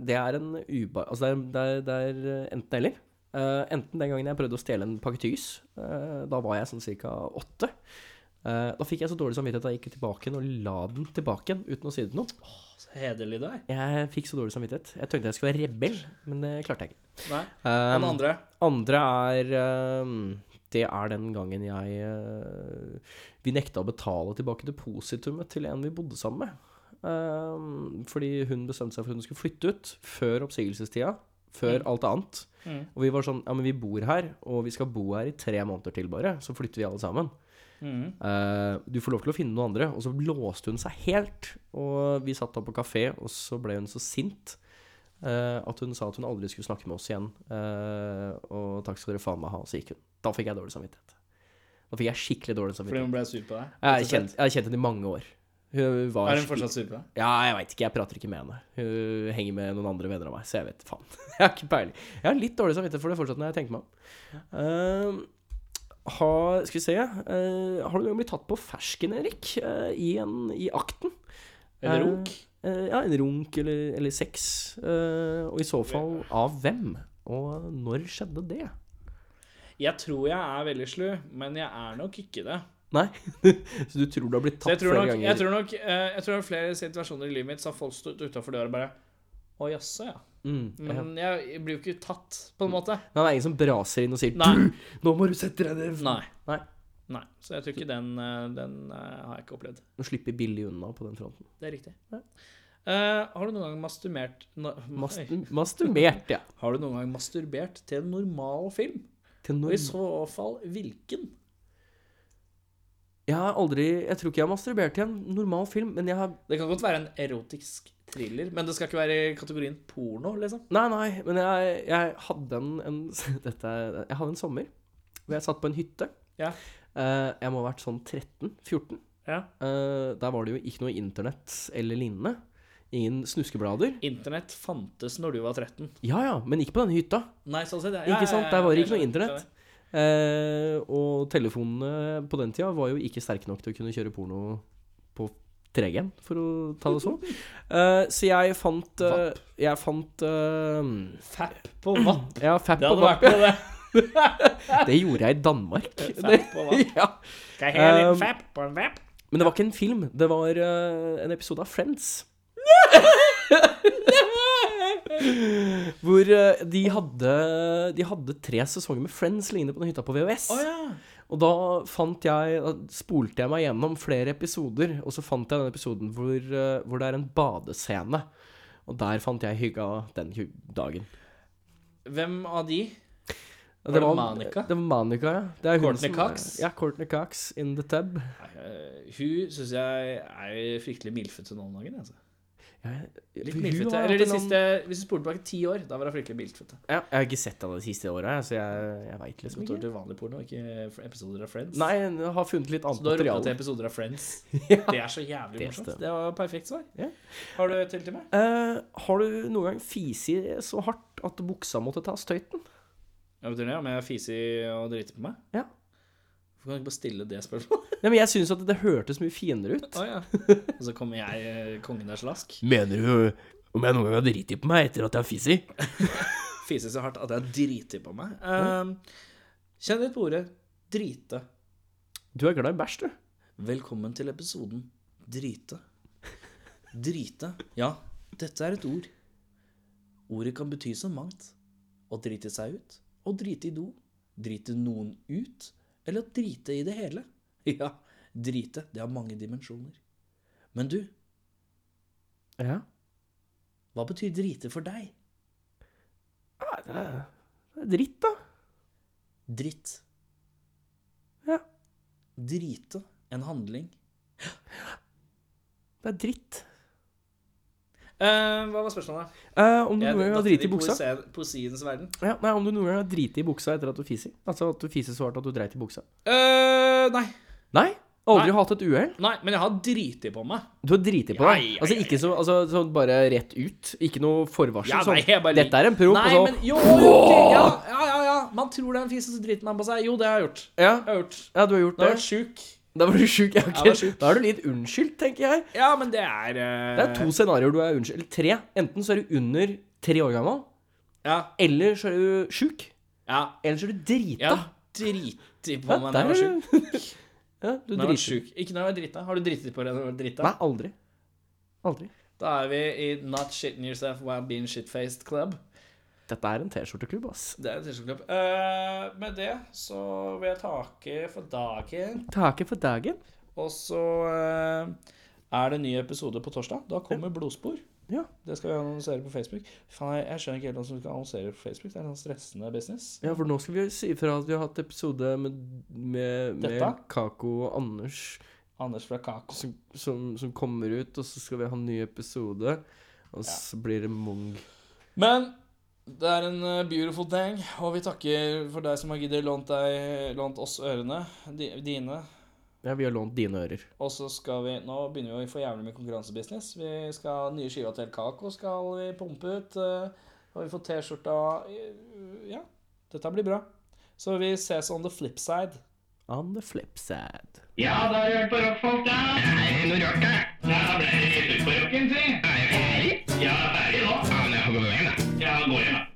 Speaker 3: det er en uba... Altså, det er, det er, det er eh, enten eller. Eh, enten den gangen jeg prøvde å stjele en pakke tys. eh, da var jeg sånn cirka åtte. Eh, da fikk jeg så dårlig samvittighet at jeg gikk tilbake igjen og la den tilbake igjen uten å si det til noen.
Speaker 2: Så hederlig du er.
Speaker 3: Jeg fikk så dårlig samvittighet. Jeg tenkte jeg skulle være rebell, men det klarte jeg ikke.
Speaker 2: Nei.
Speaker 3: Um,
Speaker 2: Den andre.
Speaker 3: andre er um, Det er den gangen jeg uh, Vi nekta å betale tilbake depositumet til en vi bodde sammen med. Um, fordi hun bestemte seg for at hun skulle flytte ut før oppsigelsestida. Før alt annet.
Speaker 2: Mm.
Speaker 3: Og vi var sånn Ja, men vi bor her, og vi skal bo her i tre måneder til, bare. Så flytter vi alle sammen.
Speaker 2: Mhm.
Speaker 3: Eh, du får lov til å finne noen andre. Og så låste hun seg helt. Og vi satt da på kafé, og så ble hun så sint eh, at hun sa at hun aldri skulle snakke med oss igjen. Eh, og takk skal dere faen meg ha. Og så gikk hun. Da fikk jeg dårlig samvittighet. Da fikk jeg skikkelig dårlig
Speaker 2: Fordi
Speaker 3: samvittighet.
Speaker 2: hun ble sur på deg?
Speaker 3: Jeg har kjent, jeg har kjent henne i mange år. Hun var
Speaker 2: Er hun
Speaker 3: skik-
Speaker 2: fortsatt sur på deg?
Speaker 3: Ja, jeg veit ikke. Jeg prater ikke med henne. Hun henger med noen andre venner av meg, så jeg vet faen. Jeg har ikke peiling. Jeg har litt dårlig samvittighet for det fortsatt når jeg tenker meg om. Ehm, har- skal vi se eh, Har du noen gang blitt tatt på fersken, Erik? eh, i, en, I akten?
Speaker 2: Eller
Speaker 3: Eh,
Speaker 2: runk?
Speaker 3: eh, ja, en runk eller, eller sex. eh, og i så fall av hvem? Og når skjedde det?
Speaker 2: Jeg tror jeg er veldig slu, men jeg er nok ikke det.
Speaker 3: Nei? så du tror du har blitt
Speaker 2: Så
Speaker 3: tatt
Speaker 2: jeg tror
Speaker 3: flere
Speaker 2: nok,
Speaker 3: ganger?
Speaker 2: jeg tror nok eh, jeg tror det er flere situasjoner i livet mitt så har folk stått utafor døra og bare Å, jaså, ja.
Speaker 3: Mm, ja. Mm.
Speaker 2: Men jeg, jeg blir jo ikke tatt, på en måte.
Speaker 3: Men det er ingen som braser inn og sier
Speaker 2: Nei.
Speaker 3: Du, nå må du sette deg ned!
Speaker 2: Nei.
Speaker 3: Nei.
Speaker 2: Nei. Så jeg tror ikke den, eh, den eh, har jeg ikke opplevd.
Speaker 3: Nå slipper billig unna på den fronten.
Speaker 2: Det er riktig. Eh, har du noen gang masturbert no,
Speaker 3: Mast
Speaker 2: Oi.
Speaker 3: masturbert, ja.
Speaker 2: Har du noen gang masturbert til en normal film? Og
Speaker 3: Til
Speaker 2: i
Speaker 3: norm-
Speaker 2: så fall hvilken?
Speaker 3: Jeg har aldri Jeg tror ikke jeg har masturbert til en normal film, men jeg har
Speaker 2: Det kan godt være en erotisk thriller, men det skal ikke være i kategorien porno, liksom.
Speaker 3: Nei, nei, men jeg, jeg hadde en, en Dette er- Jeg hadde en sommer hvor jeg satt på en hytte.
Speaker 2: Ja.
Speaker 3: Eh, jeg må ha vært sånn 13-14.
Speaker 2: Ja.
Speaker 3: Eh, der var det jo ikke noe internett eller lignende. Ingen snuskeblader.
Speaker 2: Internett fantes når du var 13.
Speaker 3: Ja ja, men ikke på denne hytta.
Speaker 2: Nei, sånn sett. ja, ja,
Speaker 3: Ikke
Speaker 2: ja,
Speaker 3: sant?
Speaker 2: ja,
Speaker 3: Der var det ikke
Speaker 2: jeg
Speaker 3: noe
Speaker 2: skjønner,
Speaker 3: internett. Eh, og telefonene på den tida var jo ikke sterke nok til å kunne kjøre porno på 3G-en, for å ta det sånn. Eh, så jeg fant eh, Jeg fant eh,
Speaker 2: skjønner. Fapp på vapp.
Speaker 3: Ja, Fap
Speaker 2: Det
Speaker 3: og
Speaker 2: hadde
Speaker 3: Vapp.
Speaker 2: vært noe, det.
Speaker 3: ja. Det gjorde jeg i Danmark. Det,
Speaker 2: Fapp og vapp.
Speaker 3: ja.
Speaker 2: Skal jeg ha en
Speaker 3: Um,
Speaker 2: liten fapp på en vapp?
Speaker 3: Men det var ikke en film, det var eh, en episode av Friends. Hvor eh, de hadde De hadde tre sesonger med Friends lignende på den hytta på VHS.
Speaker 2: Å ja.
Speaker 3: Og da fant jeg Da spolte jeg meg gjennom flere episoder, og så fant jeg den episoden hvor, eh, hvor det er en badescene. Og der fant jeg hygga den hy- dagen.
Speaker 2: Hvem av de?
Speaker 3: Ja,
Speaker 2: Var det Monica?
Speaker 3: Det var Manica, ja. Det er hun
Speaker 2: Courtney
Speaker 3: som-
Speaker 2: Cox?
Speaker 3: Ja, Courtney Cox in the tub.
Speaker 2: Eh, hun syns jeg er fryktelig mildfete nå om dagen. Altså.
Speaker 3: Ja,
Speaker 2: Litt
Speaker 3: hun
Speaker 2: mildfete.
Speaker 3: har hatt
Speaker 2: Eller de
Speaker 3: en annen-
Speaker 2: siste, hvis du spoler tilbake ti år, da var hun fryktelig mildfete.
Speaker 3: ja, Jeg har ikke sett henne de siste åra, så jeg, jeg veit
Speaker 2: Som
Speaker 3: liksom
Speaker 2: tar
Speaker 3: ikke.
Speaker 2: til vanlig porno, ikke episoder av Friends.
Speaker 3: Nei, jeg har funnet litt
Speaker 2: Så
Speaker 3: annet
Speaker 2: du har ropa til
Speaker 3: materiale.
Speaker 2: episoder av Friends.
Speaker 3: Ja.
Speaker 2: Det er så jævlig
Speaker 3: Det
Speaker 2: morsomt.
Speaker 3: stemmer.
Speaker 2: Det var perfekt svar.
Speaker 3: Ja.
Speaker 2: Har du et til til meg?
Speaker 3: Eh, har du noen gang fisi så hardt at buksa måtte ta støyten?
Speaker 2: Hva betyr det? Om jeg fiser og driter på meg?
Speaker 3: Ja.
Speaker 2: Hvorfor kan du ikke bare stille det spørsmålet?
Speaker 3: Nei, men jeg syns at det hørtes mye finere ut.
Speaker 2: Å, ja. Og så kommer jeg, eh, kongen av slask.
Speaker 3: Mener du om jeg noen gang har driti på meg etter at jeg har fisi?
Speaker 2: Fiser så hardt at jeg driter på meg.
Speaker 3: Ehm,
Speaker 2: Um, Kjenn litt på ordet drite.
Speaker 3: Du er glad i bæsj, du.
Speaker 2: Velkommen til episoden Drite. Drite. Ja, dette er et ord. Ordet kan bety så mangt. Å drite seg ut, å drite i do, drite noen ut, eller å drite i det hele. Ja, drite, det har mange dimensjoner. Men du,
Speaker 3: Ja.
Speaker 2: hva betyr drite for deg?
Speaker 3: Nei, det er, det er dritt, da.
Speaker 2: Dritt.
Speaker 3: Ja.
Speaker 2: Drite. En handling.
Speaker 3: Det er dritt.
Speaker 2: hva var spørsmålet?
Speaker 3: Eh, om du noen gang har driti i buksa?
Speaker 2: Poesiens verden.
Speaker 3: Ja, nei, om du noen gang har driti i buksa etter at du fiser? Altså at du fiser så hardt at du dreit i buksa?
Speaker 2: Eh, nei.
Speaker 3: Nei? Aldri
Speaker 2: Nei.
Speaker 3: hatt et uhell?
Speaker 2: Nei, men jeg har driti på meg.
Speaker 3: Du har driti på
Speaker 2: Ja,
Speaker 3: deg?
Speaker 2: ja, ja,
Speaker 3: Altså ikke så, altså, sånn bare rett ut? Ikke noe forvarsel?
Speaker 2: Ja, nei,
Speaker 3: sånn
Speaker 2: jeg bare lik-
Speaker 3: 'Dette er en altså. propp',
Speaker 2: Nei,
Speaker 3: og så
Speaker 2: men jo, jo, ok, ja, ja, ja, ja. Man tror det er en fis, og så driter man på seg. Jo, det har jeg gjort.
Speaker 3: ja,
Speaker 2: Jeg har gjort.
Speaker 3: ja, du har gjort
Speaker 2: Da
Speaker 3: det?
Speaker 2: har jeg vært sjuk.
Speaker 3: Da var du sjuk. Ja, ok.
Speaker 2: Jeg var sjuk.
Speaker 3: Da er du litt unnskyldt, tenker jeg.
Speaker 2: Ja, men det er eh,
Speaker 3: Det er to scenarioer du er unnskyldt. Eller tre. Enten så er du under tre år gammel,
Speaker 2: Ja.
Speaker 3: eller så er du sjuk.
Speaker 2: ja.
Speaker 3: Eller så er du
Speaker 2: Jeg
Speaker 3: drita.
Speaker 2: har driti
Speaker 3: Ja,
Speaker 2: på meg når jeg var sjuk.
Speaker 3: ja, du
Speaker 2: Når jeg var
Speaker 3: driter.
Speaker 2: sjuk. Ikke når jeg var drita. Har du driti på deg når du var drita?
Speaker 3: Nei, aldri. Aldri.
Speaker 2: Da er vi i Not Shitting Yourself While Being Shitfaced Club.
Speaker 3: Dette er en T-skjorteklubb, ass.
Speaker 2: Det er en tirsdagsklubb. Eh, med det så vil jeg takke for dagen.
Speaker 3: Taket for dagen.
Speaker 2: Og så eh, er det en ny episode på torsdag. Da kommer Blodspor.
Speaker 3: Ja.
Speaker 2: Det skal vi annonsere på Facebook. Faen, jeg, jeg skjønner ikke helt hva som skal annonsere på Facebook. Det er en sånn stressende business.
Speaker 3: Ja, for nå skal vi si ifra at vi har hatt episode med, med, med
Speaker 2: Dette?
Speaker 3: Kako og Anders
Speaker 2: Anders fra Kako.
Speaker 3: som, som, som kommer ut, og så skal vi ha en ny episode. Og så blir det Mung.
Speaker 2: Men det er en eh, beautiful thing, og vi takker for deg som har giddet lånt deg, lånt oss ørene, di, dine.
Speaker 3: Ja, vi har lånt dine ører.
Speaker 2: Og så skal vi Nå begynner vi å få jævlig med konkurransebusiness. Vi skal ha nye skiva til Kako skal vi pumpe ut. eh, Og vi får T-skjorta eh, Ja, dette blir bra. Så vi ses on the flip side.
Speaker 3: On the flip side.
Speaker 8: Ja, da har du hørt på rockfolk, da. Er det noe rart, da? Ja, ble det litt ut på rocken, si. Er jeg ferdig? Ja, ferdig nå. Ja, men jeg får gå hjem, da. Ja, gå hjem, da.